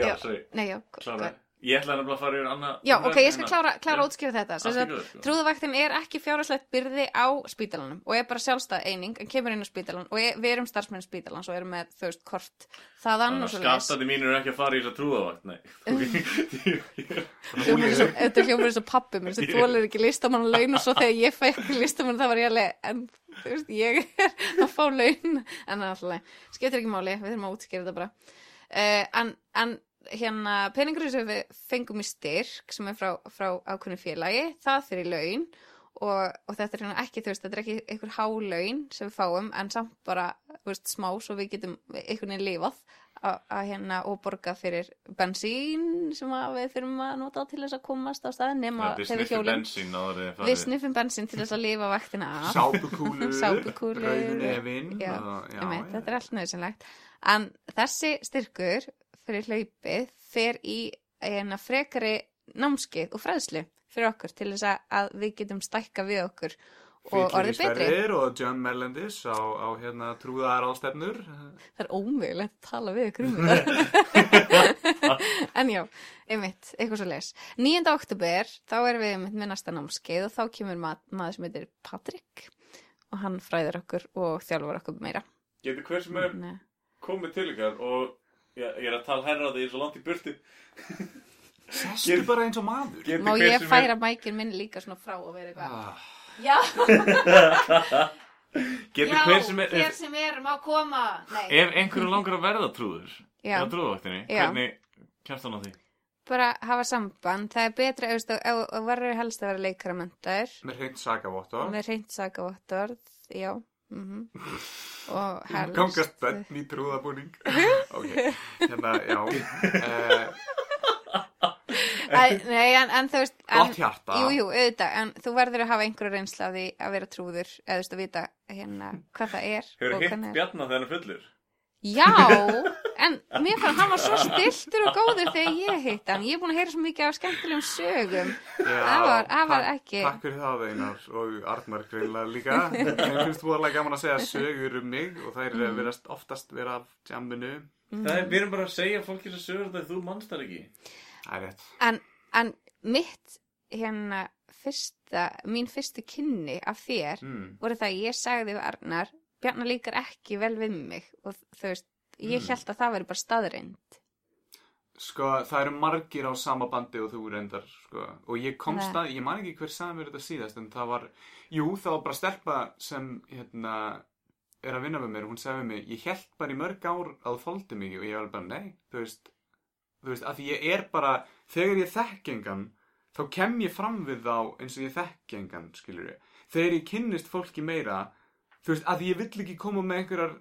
já,
já.
sorry,
nei já,
klára. Ég ætla nefnilega að fara yfir annað.
Já, ok, ég skal klára, klára
Já.
að útskýra þetta. Sem
Allt í
sagt,
góðu, sko.
Trúðavaktin er ekki fjárhagslegt byrði á spítalanum og er bara sjálfstæð eining en kemur inn á spítalan og er, við erum starfsmenn spítalans og erum með þú veist kort þaðan og svo leys.
Skattandi mínir er ekki að fara í þess að trúðavakt, nei.
Þetta hljómar eins og pappi minn sem
Ég-
þólir ekki listamann laun og svo þegar ég fæ ekki listamann það var ég alveg, en þú veist, ég er að fá laun, en alltaf, skiptir ekki máli, við þurfum að útskýra þetta bara. Uh, en, en hérna, peningurinn sem við fengum í styrk sem er frá, frá ákveðnu félagi, það fyrir laun og, og þetta er hérna ekki, þú veist, þetta er ekki einhver hálaun sem við fáum en samt bara, þú veist, smá svo við getum einhvern veginn lifað að að hérna og borga fyrir bensín sem að við þurfum að nota til þess að komast á staðin
Þið
nema þegar við
sniffi
hjólum
bensín áður en þið
við
farið.
sniffum bensín til þess að lifa vaktina af
Sápukúlur,
Sápukúlur.
rauður nefinn.
Já,
og- já,
Einmitt,
já.
þetta er allt nöðsynlegt en þessi styrkur fyrir hlaupið fer í hérna, frekari námskeið og fræðslu fyrir okkur til þess að- að við getum stækka við okkur
Fyllir
og
í
orðið betri
stærðir Og John Melendis á, á hérna trúðaðar ástefnur.
það er ómögulegt að tala við okkur um þetta en já, einmitt, eitthvað svo les 9. oktober, þá erum við einmitt með næsta námskeið og þá kemur ma maður sem heitir Patrik og hann fræðir okkur og þjálfur okkur meira
Getur hver sem er
Nei.
komið til ykkar og já, ég er að tala herra því ég er svo langt í burti.
Sestu bara eins og maður.
Getur
má
hver
ég
sem er-
færa mækin minn líka svona frá og vera eitthvað
Ah,
Já,
Getur hver sem er... ef-
sem er má koma Nei,
Ef einhverju langar að verða trúður
Já.
á trúðavaktinni,
Já.
hvernig kemst hann á því?
bara hafa samband Það er betra, auðvist, og, og verður helst að vera leikaramöndar
með hreint sakavottor.
Með reynd sakavottorð Já mm Og helst
Gangast benn í trúðabúning. ok, hérna, já. Uh,
Æ, Nei, en, en þú veist en,
gott hjarta.
Jú, jú, auðvitað, en þú verður að hafa einhverju reynsla af því að vera trúður, eða þú veist að vita hérna hvað það er
Hefur
og
hitt
hvernig er.
Bjarnar þegar hann er fullur?
Já, en mér fannst hann var svo stiltur og góður þegar ég hitt hann. Ég er búin að heyra svo mikið af skemmtilegum sögum.
Já,
Það var- það var
takk-
ekki-
Takk fyrir það Einar og Arnar greinlega líka Mér finnst voðalega gaman að segja sögur um mig og þær mm. verðast oftast vera af jamminu
Mm.
Það er, við erum bara að segja fólki sem sögur þetta þú manst þar ekki.
Það er rétt
En, en mitt, hérna, fyrsta, mín fyrstu kynni af þér
mm.
voru það að ég sagði við Arnar, Bjarnar líkar ekki vel við mig og þú veist, ég
Mm.
held að það veri bara staðreind.
Sko, það eru margir á sama bandi og þú reyndar sko. og ég komst
Nei.
að, ég man ekki hver sagði mér þetta síðast en það var, jú, það var bara stelpa sem, hérna er að vinna með mér og hún sagði við mig ég held bara í mörg ár að þú þóldi mig og ég var bara, nei, þú veist þú veist, að því ég er bara, þegar ég þekk engan, þá kem ég fram við þá eins og ég þekk engan, skilur ég þegar ég kynnist fólki meira þú veist, að því ég vill ekki koma með einhverjar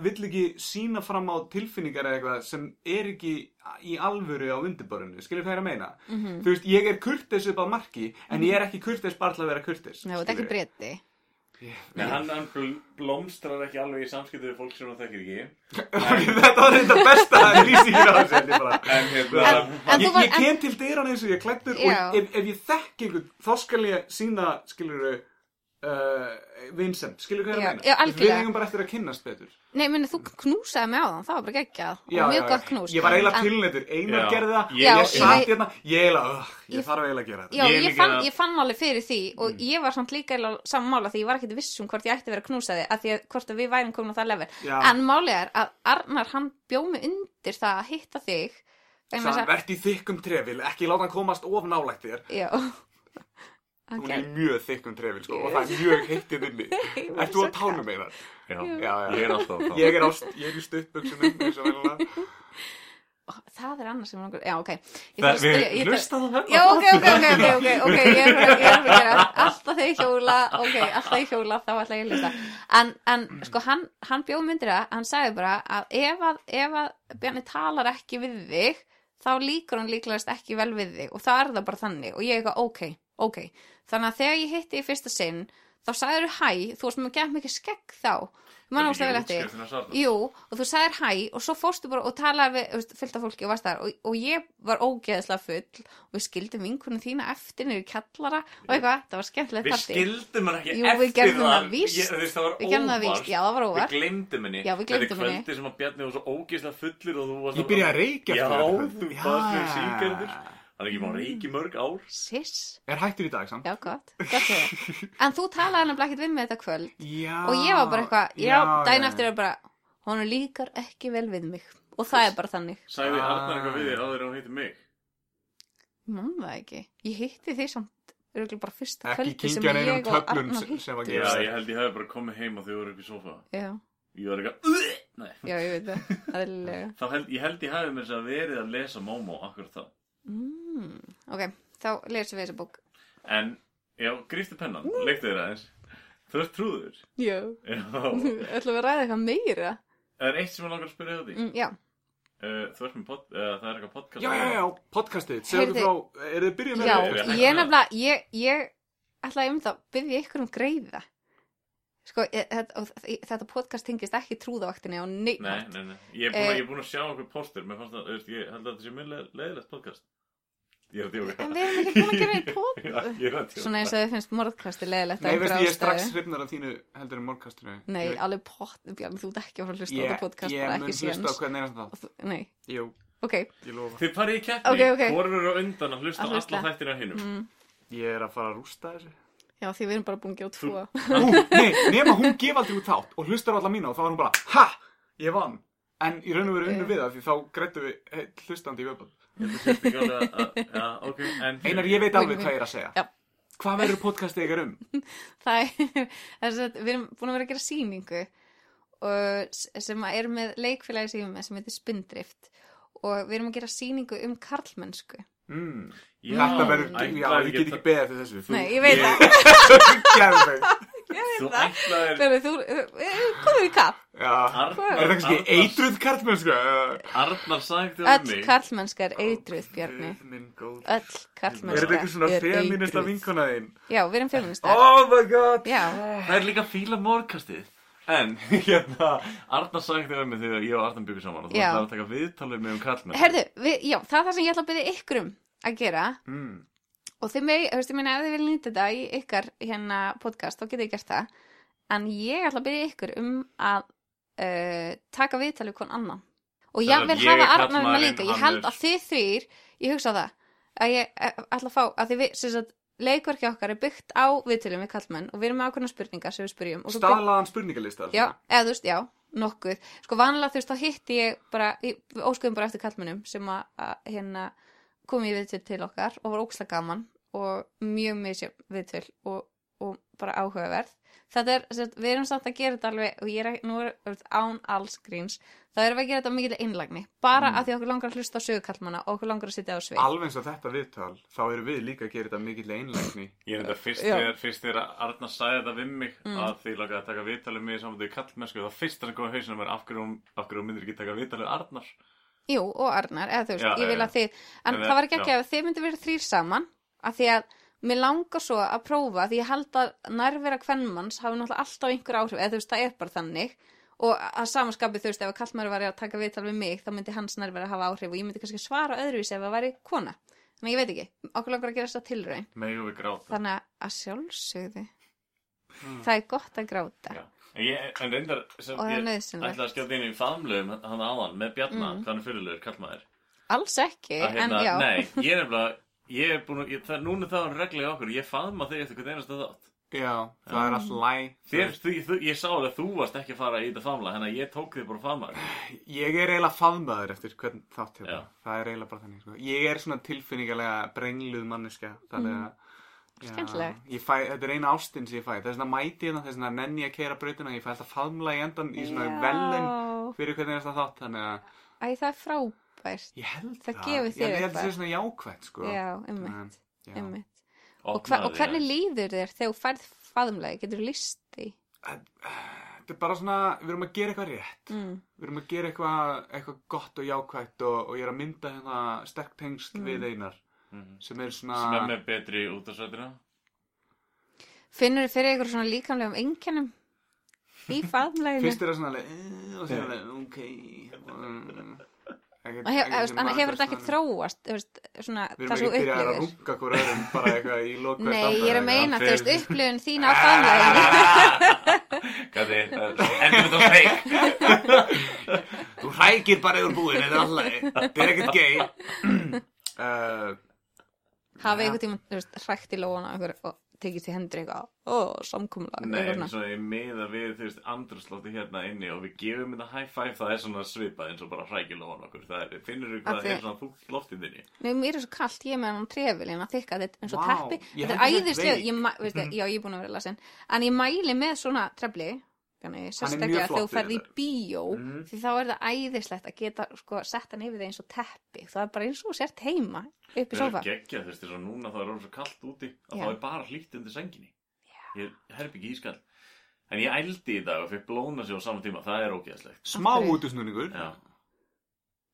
vill ekki sína fram á tilfinningar eða eitthvað sem er ekki í alvöru á undirborinu, skilur hvað ég er að meina
Mhm.
þú veist, ég er kurteis upp á marki en ég er ekki kurteis bara til að vera kurteis
Ná, þetta er ekki breyti.
Nei, hann, hann bl- blómstrar ekki alveg í samskiptu við fólk sem hann þekkir ekki.
þetta var þetta besta lýsingin á þessu held ég bara.
En hérna,
En- en- þú
ég,
var-
ég kem til dyrann eins og ég er klættur
Já.
og ef, ef ég þekk einhvern þá skal ég sína, skilur við uh, vinsend, skilur hvað ég er að meina Þú veist,
Já, já,
við
algjörlega.
eigum bara eftir að kynnast betur
Nei, meni, þú knúsaði mig á þann, það var bara geggjað
Já,
og
já,
mjög
já.
gott knús.
Ég var eiginlega
En-
tilnættur, einar
Já.
gerði það,
Já,
ég
ég-
satt hérna, ég eiginlega, uh, ég
Ég-
þarf eiginlega Mm. að gera þetta.
Já,
Ég er
ég,
líka-
fann, ég fann alveg fyrir því og ég var samt líka eiginlega sammála því ég var ekkert viss um hvort ég ætti að vera knúsaði að því að hvort að við værum komin á það level
Já.
en málið er að Arnar hann bjó mig undir það að hitta þig vegna
Það
þess að-
verðt í þykkum trefil, ekki láta hann komast of nálægt þér.
Já
Hún
okay.
er í mjög þykkum trefil, sko, og það er mjög heittið inni. Ert þú á tánum einar?
já,
Já,
ég
já.
er alltaf þá.
Ég er, á, ég er í stuttböksunum, eins og velilega.
Það er annars sem langar Já, ok Ég
Það,
þarf að
við
spyrja- ég þarf-
hlustaðu það hérna.
Já, ok, ok, ok, ok, ok, ok, ég er að- ég er að gera alltaf þegar ég hjóla, ok, alltaf þegar ég hjóla, þá ætla ég að hlusta. En, en sko, hann, hann bjóð myndir það, hann sagði bara að ef að, ef að Bjarni talar ekki við þig, þá líkur hann líklegast ekki vel við þig og þá er það bara þannig og ég eitthvað ok, ok þannig að þegar ég hitti í fyrsta sinn þá sagður hæ, þú varst með gett mikið skegg þá ég man ástæður eftir
útskrift þennan sarna.
Jú, og þú sagðir hæ og svo fórstu bara og talaði við þú veist, fullt af fólki og varst þar og, og ég var ógeðslega full og við skildum vinkunum þína eftir niður í kallara og eitthvað, það var skemmtilegt
Við
partí.
skildum hann ekki
Jú,
eftir
við gerðum
það
það víst.
Ég- þú veist, Það var
Við gerðum það
óvart.
víst. Já, það var óvart.
Við gleymdum henni
Já, við gleymdum
Þetta er
henni.
kvöldi sem að Bjarni var svo ógeðslega fullir og þú varst
Ég byrjaði að reykja
Já,
eftir þetta.
þú
Já.
baðst mér síkerður Þannig ekki má reykja í mörg ár
Siss,
Er hættur í dag samt?
já gott, gott hefur. En þú talaði hann ekki við mig þetta kvöld
Já.
og ég var bara eitthvað, já,
já,
dæn
já.
eftir er bara, honum líkar ekki vel við mig og það er bara þannig.
Sæði
Ah.
Arnar eitthvað við þér áður en hún hitti mig
Mann það ekki, ég hitti þig samt örugglega bara fyrsta
Ekki
kvöldi sem
kynkja
ég
neinum
og
töflum
Arnar
sem- sem að
hittum.
Já,
gerast.
ég held ég hefði bara komið heim og þau voru upp í sofa
Já,
Ég var eitthvað "Ugh!" Nei,
já, ég veit það, aðlilega.
þá held ég held ég hefði með þess að verið að lesa Momo akkur þá
Mm, ok, þá lesum við þessa bók.
En, já, gríftu pennan, leiktu þér aðeins Þú ert trúður
Já.
Já.
Ætlum við að ræða eitthvað meira?
Það er eitt sem ég langar að spyrja á því
Mm, já,
Uh, Þú ert með pod, uh, það er eitthvað podcast
Já, já, já, podcastið. Segðu
Heyrðu-
frá, er þið byrjuð með
já,
við
þetta?
hættum
ég
það.
nefnilega, ég, ég ætlaði um það, byrði ykkur um greiða. Sko, ég- þetta, og þ- þetta podcast tengist ekki trúðavaktinni á neitt.
Nei, nei, nei, ég er búin,
Eh.
að- ég er búin að sjá okkur póster Mér fannst það, þú veist, ég held að þetta sé mjög leið, leiðilegt podcast Ég er að djóka
En við erum ekki búin að gera eitt podcast.
Já, ég er að djóka
Svona eins og þið finnst morðkasti leðilegt.
Nei, veistu, ég er strax hrifnar af þínu heldur en morgkastinu.
Nei,
ég,
alveg pott, Bjarni, þú ert ekki að fara að hlusta á þetta podcast,
Ég
bara
mun
ekki
hlusta á
séns.
hvern einast það.
Og þú- Nei,
Jú,
ok,
ég lofa.
Þið farið í keppni,
Ok, ok.
hvorur eru á undan að hlusta á
Að hlusta.
alla þættina á hinnum
mm,
Ég er að fara að rústa þessu.
já, því við erum bara búin að gera tvo.
Hún, nei, nema hún gef aldrei út þátt og hlustar á alla mína og þá var hún bara, ha, ég vann. En í raun og veru unnum við það því þá grættu við heill hlustandi í vöpun.
Ég held að þetta sé ekki alveg að- að- Já, ok, en
Einar, ég veit alveg
Win-win.
hvað ég er að segja.
Já.
Hvað verður podcastið ykkar um?
það er, þess að við erum búin að vera að gera sýningu og, sem að er með leikfélagi sem, sem heitir Spindrift og við erum að gera sýningu um karlmennsku
Mm.
Já,
Þetta verður,
ætlaði
já, ég get ekki beðið eftir þessu.
Nei, ég veit
ég-
það
Gjæðveg.
Þú ætlaðir
Þegar þú, komið í kapp
Já.
Arnar,
Er það kannski
Arnar-
eitruð kartmenn, sko?
Arnar sagði þér um
Öll
mig
karlmennska er eitruð, Bjarni
Minn góð. Er
Öll karlmennska
þetta
er
eitthvað svona feminista
eitruð
vinkona þín?
Já, við erum feminista
Oh my god!
Já,
Það er líka fíla morgkastið En, hérna, Arnar sagði þér um mig þegar ég og Arnar byggjum saman og þú
Já.
ætlaði að taka viðtalið mig um kallmenn
herðu, við, já, það er það sem ég ætla að byrja ykkur um að gera
Mm.
og þið megi, þú veist, ég meina ef þið vil nýta þetta í ykkar hérna podcast, þá getið þið gert það en ég ætla að byrja ykkur um að uh, taka viðtalið hvern annan og
Sem
ég vil
sagt, ég
hafa
er
Arnar um
karlmaðurinn,
líka, ég
hann
held
er-
að þið þrýr ég hugsa það, að ég eh, ætla að fá, að þið við, sem sagt, leikverki okkar er byggt á viðtalið með kallmenn og við erum með ákveðna spurningar sem við spyrjum og svo bygg-
Stalaðan spurningalista. sko.
Já, eða þú veist, já, nokkuð Sko vanlega þú veist, þá hitti ég bara ég- við óskuðum bara eftir kallmennum sem að, að hérna kom ég viðtöl til okkar og var óksla gaman og mjög mjög viðtöl og, og bara áhugaverð Þetta er, sem sagt, við erum samt að gera þetta alveg og ég er ekki, nú er þú veist, án alls gríns þá erum við að gera þetta mikil einlagni bara
Mm.
að því okkur langar að hlusta á sögu kallmanna og okkur langar að sitja á svið
Alveg eins og þetta viðtal, þá eru við líka að gera þetta mikill einlægni.
Ég er þetta fyrst
Já.
þegar, fyrst þegar Arna sagði þetta við mig
Mm.
að því lakaði að taka viðtalið mig saman því kallmennsku það fyrst það komið hausinu mér af hverju, hún- af hverju hún myndir ekki taka viðtalið Arnar
Jú, og Arnar, eða þú veist,
Já,
ég vil
já,
að þið En
En,
það var ekki
já.
ekki að þið myndi verið þrýr saman Af því að mér langar svo að prófa Því ég held að nærvera kvennmanns hafi náttúrulega alltaf einhver áhrif Eða þú veist, það er bara þannig Og að samaskapið, þú veist, ef að kallmaður var að taka viðtal við mig Þá myndi hans nærvera hafa áhrif Og ég myndi kannski svara öðruvísi ef það væri kona Þannig að ég veit ekki, okkur langar að gera þess að tilraun
Megum við gráta
Þannig að- að sjálfsögðu Það er gott að gráta
Hmm. Já. En, ég, en reyndar sem
Og það er
ég
nöðsynlegt
ætlaði að skjóta inn í faðmlöfum hann áðan með Bjarna,
Mm.
hvað hann er fyrirlegur, kallmaður
Alls ekki,
að
en
hérna,
já
nei, ég er nefnilega ég er búin að, ég, það er núna það er regla í okkur ég faðma þig eftir hvern einasta þátt
Já, það er alltaf læg.
Um, þér,
Mm.
þú, þú, ég sá alveg að þú varst ekki að fara í þetta famla þannig að ég tók þig bara að faðma þér.
Ég er eiginlega faðmaður eftir hvern þátt hérna.
Já.
Það er eiginlega bara þannig. Sko. Ég er svona tilfinningalega brengluð manneska. Þannig
Mhm.
að... Já,
Skemmtilegt.
ég fæ, þetta er eina ástinn sem ég fæ þess vegna mæti hérna, þess vegna nenni ég að keira brautina ég fæ alltaf faðmla í endan í svona velun
Já.
fyrir hvernig er þetta þátt þannig að
Æ, það er frábært.
ég held
Það gefur þér
ég held
eitthvað.
þetta sé svona jákvætt sko.
Já, einmitt,
Já.
einmitt. Og, hva,
Opnaði
og hvernig
þig.
líður þér þegar þú færð faðumlega? Getur þú list því?
þetta er bara svona, við erum að gera eitthvað rétt
mm,
við erum að gera eitthvað, eitthvað gott og jákvætt og, og ég er að mynda hérna sterk tengsl
Mm.
við einar
Mhm.
sem er svona
sem er með betri útarsætina
finnur þið fyrir ykkur svona líkamlegum einkennum í faðmleginu
fyrst er það svona alveg "Eh", og sér alveg, ok mm, ekkert-
og hef,
ekkert
hefur,
svona
hefur
matur,
þetta ekki
svona-
þróast þú veist, svona,
Við erum
það svo
ekki byrjað að
upplifir
runga hvort öðrum bara eitthvað í lokvæð
nei, ég er að meina, þú veist, upplifun þín á faðmleginu
Gatti, endur við þá feik
Þú hrækir bara yfir búin, þetta er alltaf Þetta er ekkert gay uh,
hafa einhvern tíma, þú veist, hrækt í lóana ykkur, og tekist í hendur eitthvað ó, samkúmla
Nei, en svona ég meða við, þú veist, andrúrslótti hérna inni og við gefum þetta high five, það er svona svipað eins og bara hrækilóan okkur, það er, finnur við
Af
hvað
því-
er svona þúkt loftið þinni.
Nei, mér er svo kallt, ég er með hann trefil, ég er að þykka þetta er eins og
Vá,
teppi,
ég
þetta
held ég
er
sé
æðislega,
veik. Mhm.
ég, ma- veistu, já, ég er búin að vera lasin, en ég mæli með svona trefli, þannig sérstaklega
mjög
þegar þú
flottur
ferð í
þetta.
bíó,
Mhm.
því þá er það æðislegt að geta, sko, sett hann yfir það eins og teppi, það er bara eins og þú sért heima, upp í
Það
sofa.
er geggjað, þú veist, þess að núna þá er orðið svo kallt úti að
Já.
þá er bara hlýtt undir senginni. Ég er herbyggi ískall. En ég ældi í dag og fekk blóna sig á saman tíma, það er ógeðslegt.
Smá
Af hverju?
útusnúningur
Já.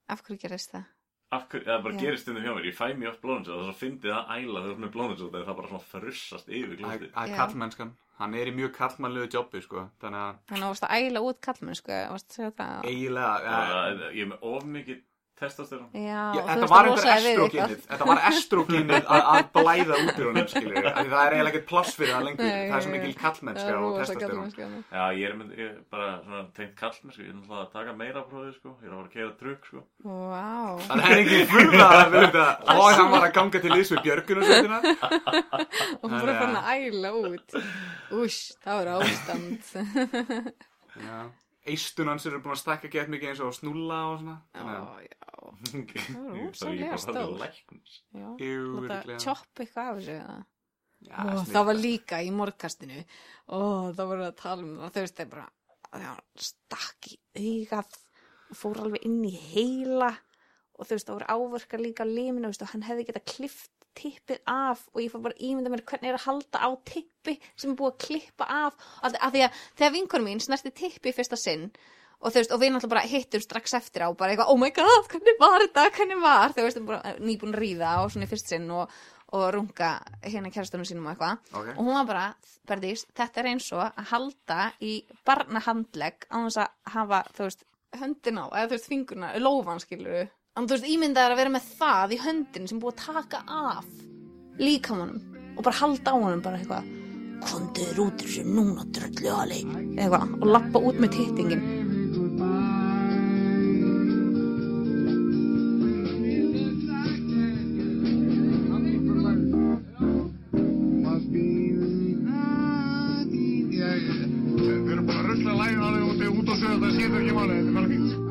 Af hverju gerist það?
Af hverju, það bara
Já.
gerist stundum hjá mér, ég fæ mjög oft blóna sig og þess að fyndi það æla þegar hún er blóna sig og það bara svona frussast yfir
Það
glóðið.
er
Já.
kallmennskan Hann er í mjög kallmannlegu jobbi sko. Þannig að
Þannig að varst að æla út kallmenn, sko, varst að segja það?
eiginlega uh,
Ég er með of mikið testosterón.
Já,
ég,
þú
Þetta
veist að
var einhver
losa þig við
estrogenið
eitthvað.
Þetta var estrogenið að að blæða út úr honum skilur við. Af því Það er eiginlega ekkert pláss fyrir það lengur
Nei,
Það er svo
nei,
mikil
Það
kallmennska
var
sko, og
rosa
testosterón
kallmennskan.
Já, ég er með, ég, er bara svona tengt kall mér, sko, ég er náttúrulega að taka meira prófið, sko, ég er að fara að keira trukk, sko.
Vá.
Það er ekki fyrir að við þetta Og hann var að ganga til liðs við björgunarsveitina
og hún bara fann að æla út Úsh, það var ástand
Já. Eistun hans eru búin að stakka gett mikið eins og snúlla og svona.
Já,
Þannig
já,
Það
er rosalega stór.
læknis.
já
að- Jú, Ah,
Þú ert að
örugglega.
tjoppa eitthvað af þessu eða?
Já,
Ó,
snill.
það var líka í morgkastinu Ó, það voru að tala um það Þau veist, það er bara það var stakk í augað og fór alveg inn í heila og þau veist, það voru áverkar líka á liminu, þú veist, og hann hefði getað klift tippið af og ég fór bara að ímynda mér hvernig er að halda á tippi sem er búið að klippa af af af því að þegar vinkonum mín snerti tippi í fyrsta sinn og þú veist, og við náttúrulega bara hittum strax eftir á bara eitthvað, oh my god, hvernig var þetta, hvernig var þú veist, bara eh, nýbúin að ríða og svona í fyrst sinn og, og runga hérna kærastunum sínum og eitthvað
Ok.
og hún var bara, Berðís, þetta er eins og að halda í barnahandlegg á þess að hafa, þú veist, höndina á, eða þú veist, fingurna, lófan skilur en þú veist, ímyndaðar að vera með það í höndin sem búið að taka af líkamanum og bara halda á honum bara eitthvað komduður út úr þessu núna dröllu ali eitthvað, og lappa út með tittingin
Must be the- Við erum bara að rusla lægin alveg út, út á söðu, það skiptir ekki máli, þetta er alveg fínt.